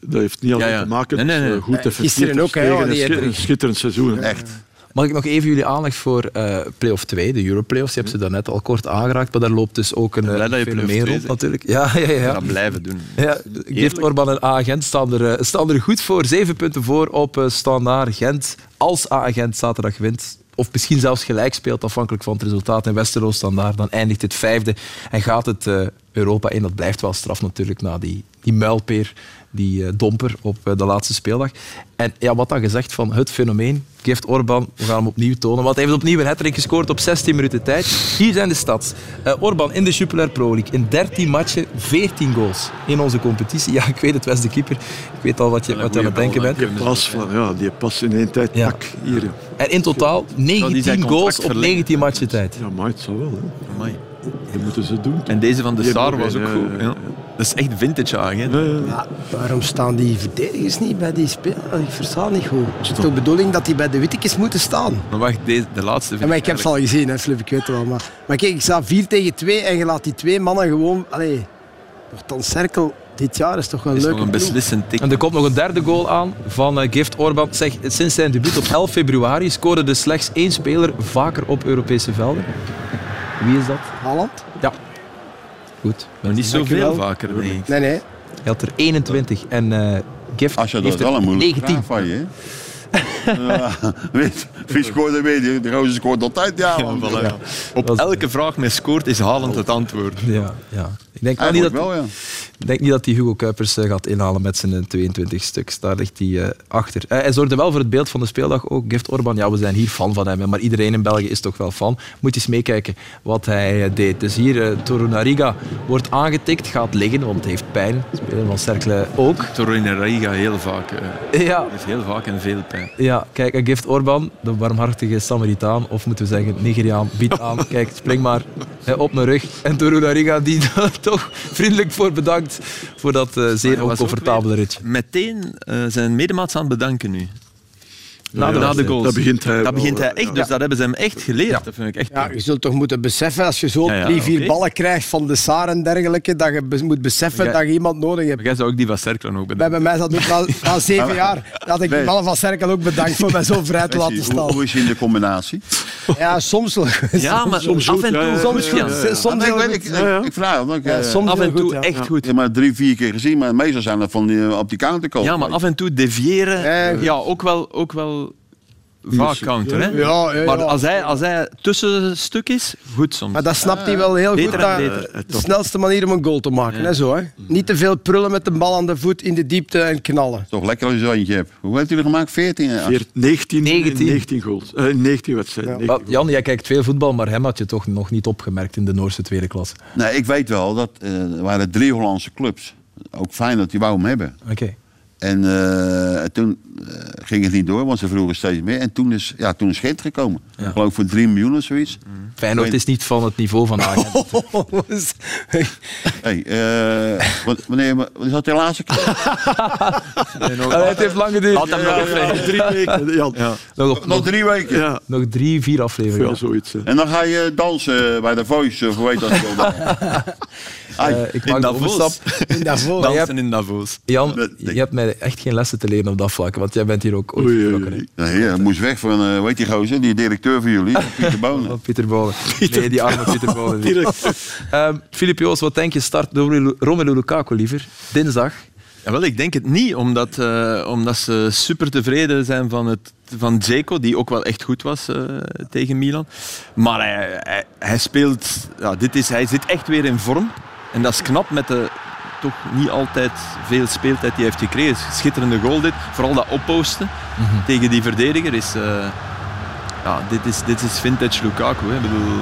S6: Dat heeft niet alleen
S5: Ja, ja.
S6: te maken
S5: Nee, nee, nee.
S6: met, eh, goed te
S7: Gisteren ook, hè,
S6: tegen
S7: die
S6: een schi-
S7: drie.
S6: een schitterend seizoen. hè.
S4: Echt.
S2: Mag ik nog even jullie aandacht voor eh play-off 2, de Europlayoffs? Je hebt ze daarnet al kort aangeraakt, maar daar loopt dus ook een
S5: blij dat
S2: eh,
S5: je play-off
S2: fenomeen
S5: 2
S2: rond
S5: zegt.
S2: natuurlijk. Ja, ja, ja. ja.
S5: Dat blijven doen.
S2: Ja, Geert Orban en A-Gent staan er, eh, staan er goed voor. Zeven punten voor op eh, Standaard Gent. Als A-Gent zaterdag wint, of misschien zelfs gelijk speelt, afhankelijk van het resultaat in Westerlo Standaard, dan eindigt het vijfde en gaat het eh, Europa in. Dat blijft wel straf natuurlijk na die, die muilpeer, die eh, domper op eh, de laatste speeldag. En ja, wat dan gezegd van het fenomeen, Geert Orban, we gaan hem opnieuw tonen, want hij heeft opnieuw een hattrick gescoord op 16 minuten tijd. Hier zijn de stads. Eh, Orban in de Jupiler Pro League, in 13 matchen, 14 goals in onze competitie. Ja, ik weet het, was de keeper. Ik weet al wat je, wat je aan het denken bent.
S6: Die pas, van, ja, die pas in één tijd.
S2: Ja.
S6: Pak, hier. ja.
S2: En in totaal
S5: die zijn
S2: 19
S5: contract
S2: goals op
S5: verlengen.
S2: 19 matchen tijd.
S6: Ja, maar het zou wel. Hè.
S5: Amai.
S6: Dat moeten ze doen. toch?
S5: En deze van de
S6: Die
S5: Saar
S6: hebben
S5: was
S6: we,
S5: ook
S6: eh,
S5: goed. Ja. Dat is echt vintage agent.
S6: Ja, ja.
S7: Maar waarom staan die verdedigers niet bij die spelers? Ik versta niet goed. Het is toch bedoeling dat die bij de wittekes moeten staan?
S5: Maar wacht, deze, de laatste
S7: Ja,
S5: vind
S7: maar ik heb ze al gezien, hè, Flip, ik weet het wel. Maar, maar kijk, ik sta 4 tegen 2 en je laat die twee mannen gewoon... Allee, Hortans Cirkel, dit jaar is toch wel
S5: is
S7: leuk.
S5: nog een beslissend tik.
S2: En er komt nog een derde goal aan van eh, Gift Orban. Zeg, sinds zijn debuut op 11 februari scoorde dus slechts één speler vaker op Europese velden. Wie is dat?
S7: Haaland?
S2: Goed.
S5: Maar niet
S7: Dankjewel.
S5: zoveel vaker, nee.
S7: Nee, nee.
S2: Hij had er 21 en eh Gift
S4: Als je dat
S2: heeft
S4: is
S2: er
S4: wel een moeilijke
S2: 19.
S4: vraag van je. hè? Ja, weet- Wie scoort er mee? Die die gozer scoort altijd. Ja, man.
S5: voilà.
S4: Ja,
S5: Op elke vraag met scoort is halend het antwoord.
S2: Ja, ja. Ik denk wel niet
S4: Eigenlijk
S2: Nou, dat,
S4: wel, ja.
S2: ik denk niet dat die Hugo Kuipers eh, gaat inhalen met zijn eh, 22 stuks. Daar ligt hij eh, achter. Eh, hij zorgde wel voor het beeld van de speeldag ook. Gift Orban, ja, we zijn hier fan van hem. hè, Maar iedereen in België is toch wel fan. Moet eens meekijken wat hij eh, deed. Dus hier, eh, Torunariga wordt aangetikt, gaat liggen, want hij heeft pijn. Speler van Cercle ook.
S5: Torreira heel vaak. eh,
S2: Ja,
S5: heeft heel vaak en veel pijn.
S2: ja, kijk, eh, Gift Orban, de warmhartige Samaritaan, of moeten we zeggen Nigeriaan, biedt aan. Kijk, spring maar hè, op mijn rug. En Torunariga, die daar toch vriendelijk voor bedankt voor dat eh,
S5: Maar
S2: zeer
S5: hij was ook
S2: oncomfortabele
S5: weer
S2: ritje.
S5: Meteen eh, zijn medemaats aan het bedanken nu. Na, de- na de goals.
S6: Dat begint hij
S5: Dat
S6: wel,
S5: begint hij
S6: eh,
S5: echt,
S6: ja.
S5: dus dat hebben ze hem echt geleerd. Dat vind ik echt
S7: Ja, je zult toch moeten beseffen, als je zo
S5: Ja, ja,
S7: drie, vier
S5: oké.
S7: ballen krijgt van de Saar en dergelijke, dat je be- moet beseffen
S5: Ja.
S7: dat je iemand nodig hebt.
S5: Maar jij zou ook die van Cerkelen ook bedenken.
S7: Bij, bij mij zat ook na, na zeven jaar, dat ik
S4: Nee.
S7: de ballen van Cerkel ook bedankt voor mij zo vrij te laten
S4: Hoe,
S7: staan.
S4: hoe is je in de combinatie?
S7: Ja, soms wel.
S5: Ja, maar
S7: soms
S5: af en toe goed,
S7: soms
S5: ja.
S7: goed, soms
S4: Want ik,
S7: heel
S4: Ah, weet- ik,
S7: goed.
S4: ik, ik vraag het. want Ik,
S7: Ja,
S4: eh,
S7: soms
S5: af
S7: heel
S5: en toe
S7: goed, ja.
S5: echt
S7: Ja.
S5: goed.
S4: ik heb maar drie, vier keer gezien, maar meestal zijn dat van die, eh, op die counterkant.
S5: Ja, maar af en toe deviëren. eh,
S7: Ja, ja.
S5: Ja, ook wel, ook wel vaak counter. Hè?
S7: Ja, ja, ja.
S5: Maar als hij, als hij tussenstuk is, goed soms.
S7: Maar dat snapt hij wel heel
S5: Beter
S7: goed.
S5: en
S7: Dat
S5: beter. eh,
S7: de snelste manier om een goal te maken. Hè, zo, hè.
S5: Mm.
S7: Niet te veel prullen met de bal aan de voet in de diepte en knallen.
S4: Toch lekker als je zo eentje hebt. Hoe heeft u er gemaakt? 14? eh,
S6: 19,
S2: 19.
S6: 19 goals. Eh, 19 wedstrijden.
S7: Ja.
S6: 19
S2: Wel, Jan, jij kijkt veel voetbal, maar hem had je toch nog niet opgemerkt in de Noorse tweede klasse.
S4: Nee, ik weet wel, dat eh, er waren drie Hollandse clubs. Ook fijn dat die wou hem hebben.
S2: Oké.
S4: En eh, toen eh, ging het niet door, want ze vroegen steeds meer. En toen is, ja, toen is Gent gekomen. Ik geloof voor 3 miljoen of zoiets.
S2: Feyenoord is niet van het niveau vandaag. hè.
S5: Oh, dus-
S4: Hey, eh, wa- wanneer, wanneer is dat de laatste keer?
S2: Allee, het heeft lang geduurd.
S5: Had hem nog een
S6: Ja, drie weken. Jan. Ja,
S2: Nog, op-
S4: Nog
S2: nog,
S4: drie weken.
S6: ja.
S2: nog drie, vier afleveringen.
S6: wel zoiets. hè.
S4: En dan ga je dansen eh, bij de Voice, of hoe heet dat? Ai,
S2: Eh, ik maak de
S5: Davos.
S2: overstap.
S7: In daarvoor.
S2: Dan-
S5: dansen in Davos.
S2: Jan,
S4: Dat-
S2: je hebt mij echt geen lessen te leren op dat vlak, want jij bent hier ook ooit
S6: Oei, oei,
S2: vertrokken. hè.
S6: oei.
S4: nee, hij moest weg van, eh, weet die gozer, die directeur van jullie, Pieter Bonen.
S2: Van Oh, Pieter Bolen. Nee, die arme Pieter Bolen. niet. Ehm, Filip Joos, wat denk je? Start Romelu Romelu Lukaku liever. Dinsdag.
S5: Jawel, ik denk het niet, omdat, eh, omdat ze super tevreden zijn van, het, van Dzeko, die ook wel echt goed was eh, tegen Milan. Maar hij, hij, hij speelt, ja, dit is, hij zit echt weer in vorm. En dat is knap met de toch niet altijd veel speeltijd die hij heeft gekregen. Schitterende goal dit, vooral dat opposten tegen die verdediger is... eh, ja, dit is, dit is vintage Lukaku. Hè. Ik bedoel,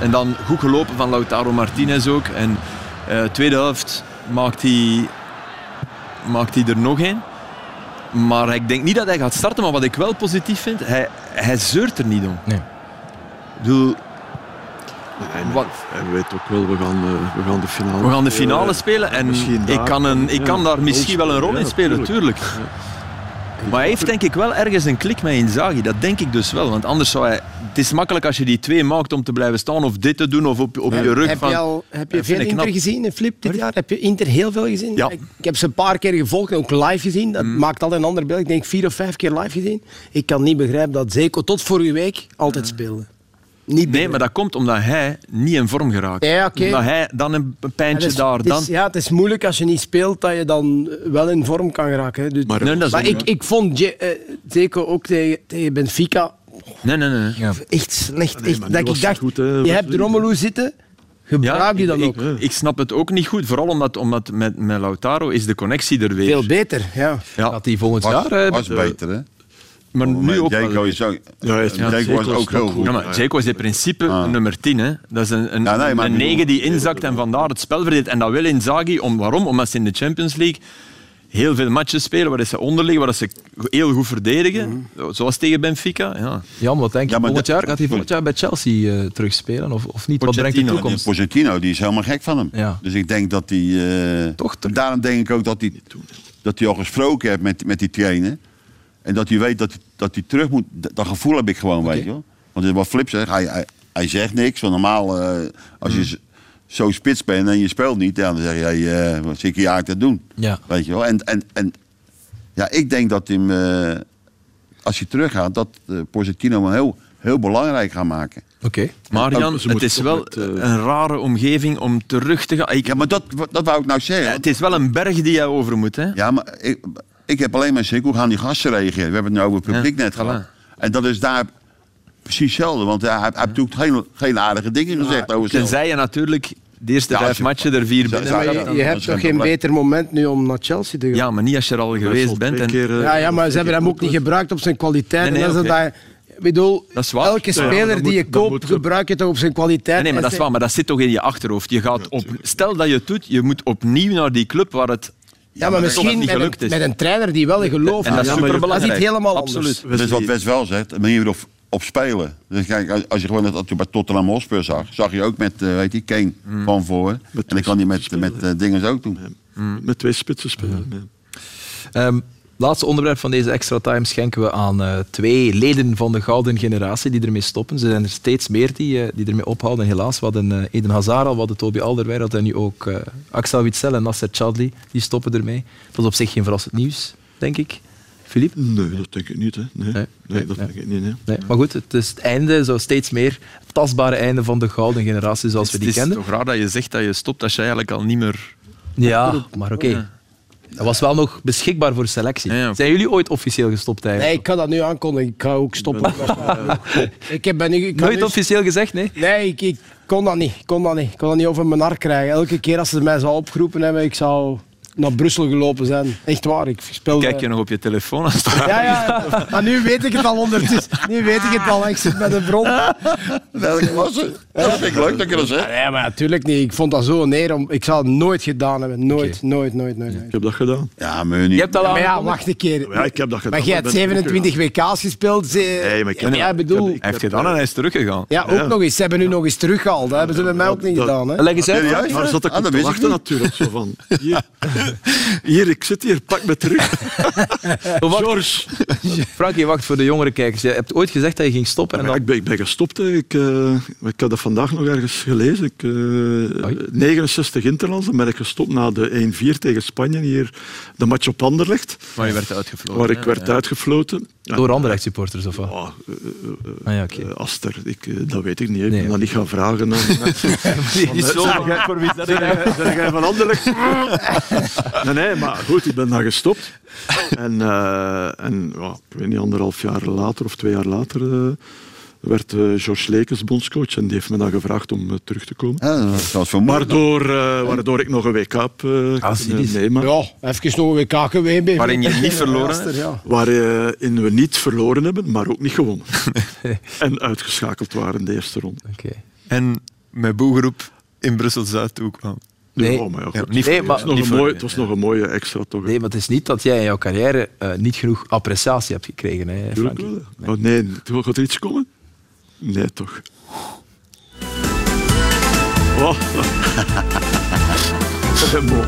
S5: en dan goed gelopen van Lautaro Martinez ook. En eh tweede helft maakt hij maakt hij er nog een. Maar ik denk niet dat hij gaat starten. Maar wat ik wel positief vind, hij, hij zeurt er niet om.
S2: Nee.
S5: Ik bedoel,
S6: En,
S5: Wat-
S6: en weet ook wel, we gaan, eh, we gaan de finale.
S5: we gaan de finale
S6: eh,
S5: spelen en
S6: misschien
S5: ik
S6: daar-
S5: kan, een, ik
S6: ja,
S5: kan daar
S6: rol
S5: misschien wel een rol
S6: spelen,
S5: in spelen,
S6: ja,
S5: tuurlijk. Maar hij heeft denk ik wel ergens een klik met Inzaghi. Dat denk ik dus wel. Want anders zou hij... Het is makkelijk als je die twee maakt om te blijven staan of dit te doen of op, op je rug.
S7: Heb
S5: van,
S7: je, al, heb je
S5: Dat vind
S7: veel
S5: ik
S7: Inter
S5: knap.
S7: gezien, eh, Flip, dit jaar? Heb je Inter heel veel gezien?
S5: Ja. Mm.
S7: Ik, ik heb ze een paar keer gevolgd, ook live gezien. Dat maakt altijd een ander beeld. Ik denk vier of vijf keer live gezien. Ik kan niet begrijpen dat Zeko tot vorige week altijd speelde. Niet
S5: Nee, maar dat komt omdat hij niet in vorm geraakt.
S7: Ja, oké.
S5: Omdat hij dan een
S7: Het
S5: pijntje
S7: is-
S5: daar,
S7: het is-
S5: dan...
S7: ja, het is moeilijk als je niet speelt dat je dan wel in vorm kan geraken. hè. Dus-
S6: Maar-
S7: maar
S5: Nee, dat is niet
S7: ik, ik vond Je- eh, Zeko ook tegen, tegen Benfica
S5: waar. Nee, nee, nee. nee.
S7: echt slecht.
S6: Nee,
S7: echt,
S6: maar nu
S7: dat
S6: was
S7: ik
S6: hij
S7: dacht,
S6: goed, hè,
S7: je hebt
S6: Wesley.
S7: Romelu zitten, gebruik je
S5: ik-
S7: dan
S5: ik,
S7: ook.
S5: Ik, snap het ook niet goed, vooral omdat, omdat met, met Lautaro is de connectie er weer.
S7: Veel beter, ja.
S5: ja.
S2: Dat die volgend
S4: Was,
S2: jaar... eh,
S4: was beter, hè?
S5: Maar
S4: Oh,
S5: nu ook
S4: Jaco
S5: wel.
S4: is ook,
S6: Ja, hij is-
S4: Jaco
S6: ja,
S4: was
S6: Jaco is
S4: ook heel
S6: ook
S4: goed. Ah.
S5: Ja, maar Dzeko is in principe nummer 10. Hè. Dat is een, een,
S4: Ja, nee, maar
S5: een
S4: ik bedoel-
S5: 9 die inzakt en vandaar het spel verdeelt. En dat wil Inzaghi. Om, waarom? Omdat ze in de Champions League heel veel matches spelen waar ze onder liggen, waar ze heel goed verdedigen.
S4: Mhm.
S5: Zoals tegen Benfica. Ja.
S2: Jan, wat denk je?
S4: Ja, maar
S2: volgend
S4: dat-
S2: jaar, gaat hij volgend jaar bij Chelsea eh, terugspelen of, of niet? Wat brengt de
S5: Pochettino.
S2: toekomst?
S4: Pochettino, die is helemaal gek van hem.
S2: Ja.
S4: Dus ik denk dat hij... eh,
S2: Toch terug.
S4: daarom denk ik ook dat hij, dat hij al gesproken heeft met, met die trainer. En dat hij weet dat, hij- dat hij terug moet. Dat, dat gevoel heb ik gewoon, weet je wel. Want het is wat Flip zegt, hij, hij, hij zegt niks. Want normaal, eh, als
S5: Hmm.
S4: je z- zo spits bent en je speelt niet... Ja, dan zeg je, hey, eh, wat zit ik hier eigenlijk te doen?
S2: Ja.
S4: Weet je wel. En, en, en ja, ik denk dat hij hem... eh, als hij teruggaat, dat eh Pochettino hem heel, heel belangrijk gaat maken.
S2: Oké.
S5: Maar
S6: ook,
S5: Jan,
S6: ze
S5: het
S6: moeten
S5: is
S6: toch
S5: wel
S6: met, eh,
S5: een rare omgeving om terug te gaan. Ik-
S4: Ja, maar dat, dat wou ik nou
S5: Ja,
S4: zeggen.
S5: het is wel een berg die jij over moet. Hè.
S4: Ja, maar ik, ik heb alleen maar schrik. Hoe gaan die gasten reageren? We hebben het nu over het publiek
S5: Ja,
S4: net gehad.
S5: voilà.
S4: En dat is daar precies hetzelfde. Want hij, hij heeft natuurlijk geen, geen aardige dingen gezegd over zichzelf.
S5: Tenzij Dus je natuurlijk de eerste
S4: Ja, als
S5: vijf
S4: je-
S5: matchen er vier binnen
S4: zou
S7: Maar
S5: gaat,
S7: je,
S5: dan-
S7: je
S4: dat
S7: hebt
S4: is
S7: toch
S4: een
S7: geen
S4: probleem.
S7: beter moment nu om naar Chelsea te gaan?
S5: Ja, maar niet als je er al geweest bent. En,
S4: eh,
S7: Ja, ja, maar ze hebben hem ook niet gebruikt op zijn kwaliteit.
S5: Nee, nee,
S7: en dat is
S5: oké.
S7: dat, ik bedoel,
S5: Dat is waar.
S7: elke
S5: Ja, maar
S7: speler
S6: dat
S7: die je
S6: moet- dat
S7: koopt,
S6: moet-
S7: gebruik je toch op zijn kwaliteit.
S5: nee, nee, maar
S7: En
S5: dat is
S7: ze-
S5: waar, maar dat zit toch in je achterhoofd. Je gaat op, stel dat je het doet, je moet opnieuw naar die club waar het dat
S7: Ja, maar
S5: toch
S7: misschien
S5: niet
S7: met een,
S5: gelukt is.
S7: met een trainer die wel gelooft.
S5: En dat is
S7: Ja, maar
S5: superbelangrijk.
S7: Dat is iets helemaal
S5: Absoluut.
S7: anders.
S4: Dat is Dus wat Wes wel zegt. Een manier op, op spelen. Dus kijk, als- als je gewoon dat je bij Tottenham Hotspur zag, zag je ook met, eh, weet je, Kane van voor. En dat kan hij met, met eh, dingen ook doen.
S6: Met twee spitsen spelen. ja.
S2: Ehm, Laatste onderwerp van deze extra time schenken we aan eh, twee leden van de gouden generatie die ermee stoppen. Ze zijn er steeds meer die, eh, die ermee ophouden. Helaas, we hadden eh, Eden Hazard al, we hadden Toby Alderweireld en nu ook eh, Axel Witsel en Nasser Chadli. Die stoppen ermee. Dat is op zich geen verrassend nieuws, denk ik. Filip?
S6: Nee, dat denk ik niet. Hè. Nee. Nee, dat denk ik niet. Nee.
S2: Nee, maar goed, het is het einde, zo steeds meer het tastbare einde van de gouden generatie zoals we
S5: Het
S2: die
S5: is
S2: kenden.
S5: toch raar dat je zegt dat je stopt als je eigenlijk al niet meer...
S2: Ja, maar oké. Dat was wel nog beschikbaar voor selectie. Zijn jullie ooit officieel gestopt
S7: Nee,
S2: eigenlijk?
S7: ik kan dat nu aankondigen. Ik ga ook stoppen. ik heb ben nu, ik kan
S2: Nooit
S7: nu-
S2: officieel gezegd, nee?
S7: Nee, ik, ik kon dat niet. Ik kon dat niet. Ik kon dat niet over mijn hart krijgen. Elke keer als ze mij zou opgeroepen hebben, ik zou naar Brussel gelopen zijn. Echt waar, ik speelde...
S5: Kijk je nog op je telefoon als het
S7: Ja, ja. Maar nu weet ik het al ondertussen. Nu weet ik het al. Ik zit met een bron.
S4: Dat was het. Dat vind ik leuk dat je dat zegt.
S7: Nee, maar natuurlijk niet. Ik vond dat zo neer. Om, ik zou het nooit gedaan hebben. Nooit, nooit, nooit, nooit. nooit.
S6: Ik heb dat gedaan.
S4: Ja, maar niet.
S2: dat
S7: Maar ja, wacht een keer.
S6: Ja, ik heb dat gedaan.
S7: Maar jij hebt
S6: Dat ben ik ook
S7: 27 WK's gespeeld. Ze...
S6: Nee, maar ik heb-
S7: ja,
S6: ik heb-
S7: bedoel...
S6: ik heb-
S5: Hij heeft gedaan en hij is teruggegaan.
S7: Ja, ook
S6: Ja.
S7: nog eens. Ze hebben nu nog eens teruggehaald. Dat hebben ze bij mij ook niet gedaan. Hè.
S2: Leg eens
S4: Ja,
S2: uit.
S4: ja,
S6: Maar zat ik
S4: Ah,
S6: op
S4: dat wist
S6: te
S4: ik
S6: wachten
S4: niet.
S6: natuurlijk. Zo van, hier, hier, ik zit hier, pak me terug. George,
S2: Frankie, wacht voor de jongere kijkers. Je hebt ooit gezegd dat je ging stoppen en
S6: Ja,
S2: dan...
S6: ik, ben, ik ben gestopt. hè. Ik, eh, ik had dat vandaag nog ergens gelezen. Ik, eh, 69 Interlands, dan ben ik gestopt na de 1-4 tegen Spanje. Hier de match op Anderlecht,
S5: Maar je werd
S2: Oh,
S5: uitgevlogen.
S6: waar ik werd uitgefloten. Ja,
S2: Door andere supporters of wat?
S6: ja, eh, eh,
S2: Ah ja, oké.
S6: eh, Aster, ik, eh, dat weet ik niet. hè. Ik
S2: Nee,
S6: ben dat niet gaan vragen. aan mensen. Zijn jij van Anderlecht? Nee, nee, maar goed, ik ben daar gestopt. En, eh, en ja, ik weet niet, anderhalf jaar later of twee jaar later eh, werd eh George Lekens bondscoach en die heeft me dan gevraagd om eh, terug te komen.
S4: Ja, dat was voor mooi.
S6: Waardoor, eh, waardoor ik nog een WK heb eh,
S2: Ah,
S6: kunnen
S2: is.
S6: nemen.
S7: Ja, even nog een WK geweest.
S5: Waarin je niet verloren hebt.
S7: ja.
S6: Waarin we niet verloren hebben, maar ook niet gewonnen. en uitgeschakeld waren in de eerste ronde.
S2: Oké.
S5: En met Boegeroep in Brussel-Zuid toekwam.
S2: Nee.
S6: Ja, Oh, maar ja,
S5: Ja,
S6: goed.
S5: niet
S2: Nee,
S5: voor-
S2: maar-
S6: het was nog,
S5: niet
S6: een,
S5: voor-
S6: mooi, het was nog een mooie extra toch.
S2: Nee,
S6: hè.
S2: maar het is niet dat jij in jouw carrière eh, niet genoeg appreciatie hebt gekregen, hè,
S6: Tuurlijk
S2: Frankie.
S6: wel, hè. Oh nee, gaat er iets komen? Nee, toch. Oh. Dat is mooi.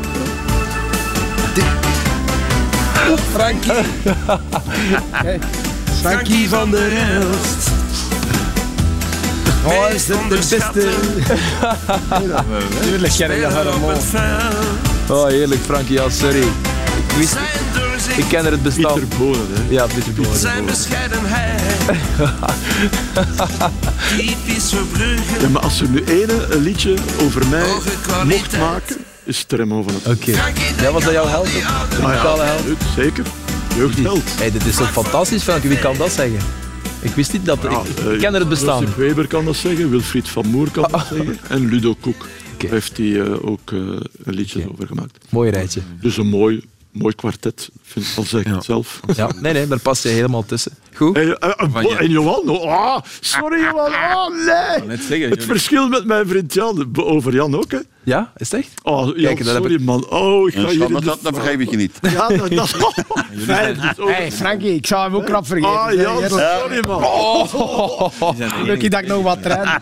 S7: Frankie van der Elst. Oh, is dat de beste? Tuurlijk ken ik dat van hem al.
S2: Oh, heerlijk, Frankie. Ja, sorry. Ik, wist, ik ken er het bestaan.
S6: Pieter Bonen, hè.
S2: Ja, Pieter Boer.
S6: Ja, maar als er nu ene een liedje over mij mocht maken, is Tremmo van het
S2: Oké. Ja, was dat jouw held? De
S6: Ah ja,
S2: muzikale held?
S6: absoluut, zeker. Jeugdheld.
S2: Hey, dit is toch fantastisch, Frankie? Wie kan dat zeggen? Ik wist niet dat...
S6: Ja,
S2: ik,
S6: eh,
S2: ik ken er het bestaan.
S6: Josip Weber kan dat zeggen, Wilfried van Moer kan dat zeggen en Ludo Koek Daar heeft hij eh, ook eh, een liedje
S2: Oké.
S6: over gemaakt.
S2: Mooi rijtje.
S6: Dus een mooi, mooi kwartet, vind, al zeg ik het zelf.
S2: Ja. Nee, nee, daar past je helemaal tussen. Goed.
S6: En, eh, eh,
S5: Van je-
S6: en Johan, oh, ah, sorry Johan, oh nee!
S5: Net zeggen,
S6: Het
S5: jullie-
S6: verschil met mijn vriend Jan, eh, over Jan ook hè.
S2: Ja, is het echt?
S6: Oh, Jan,
S2: Kijk, dat heb
S6: sorry man, oh ik ga
S4: En
S6: hier in
S4: schat,
S6: de-
S4: dat, dat vergeef ik je niet.
S6: Ja, dat, dat Vijf, dus ook-
S7: Hey, Frankie, ik zou hem ook krap vergeten.
S6: Ah
S7: hè,
S6: Jan,
S7: eerlijk.
S6: sorry man. Oh!
S7: Lucky dat ik nog wat train.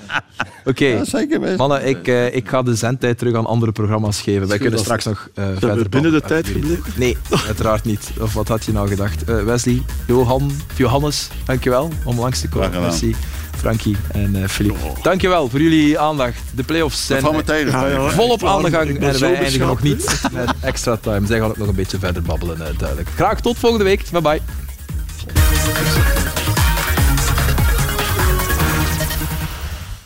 S2: Oké.
S4: Zeker best.
S2: Mannen, ik, eh, ik ga de zendtijd terug aan andere programma's geven. Wij kunnen straks nog eh, verder
S6: Zijn we binnen de
S2: babbelen.
S6: tijd gebleven?
S2: Nee, uiteraard niet. Of wat had je nou gedacht? Eh, Wesley, Johan, Johannes, dankjewel om langs te komen.
S4: Graag gedaan.
S2: Merci. Frankie en eh Philippe. Dankjewel voor jullie aandacht. De playoffs
S4: Dat
S2: zijn eh,
S4: valt me tegen.
S6: Ja, ja.
S2: volop aan de gang
S6: Ik
S2: en
S6: ben
S2: wij
S6: zo
S2: eindigen nog
S6: beschaamd,
S2: niet met extra time. Zij gaan ook nog een beetje verder babbelen, eh, duidelijk. Graag tot volgende week. Bye bye.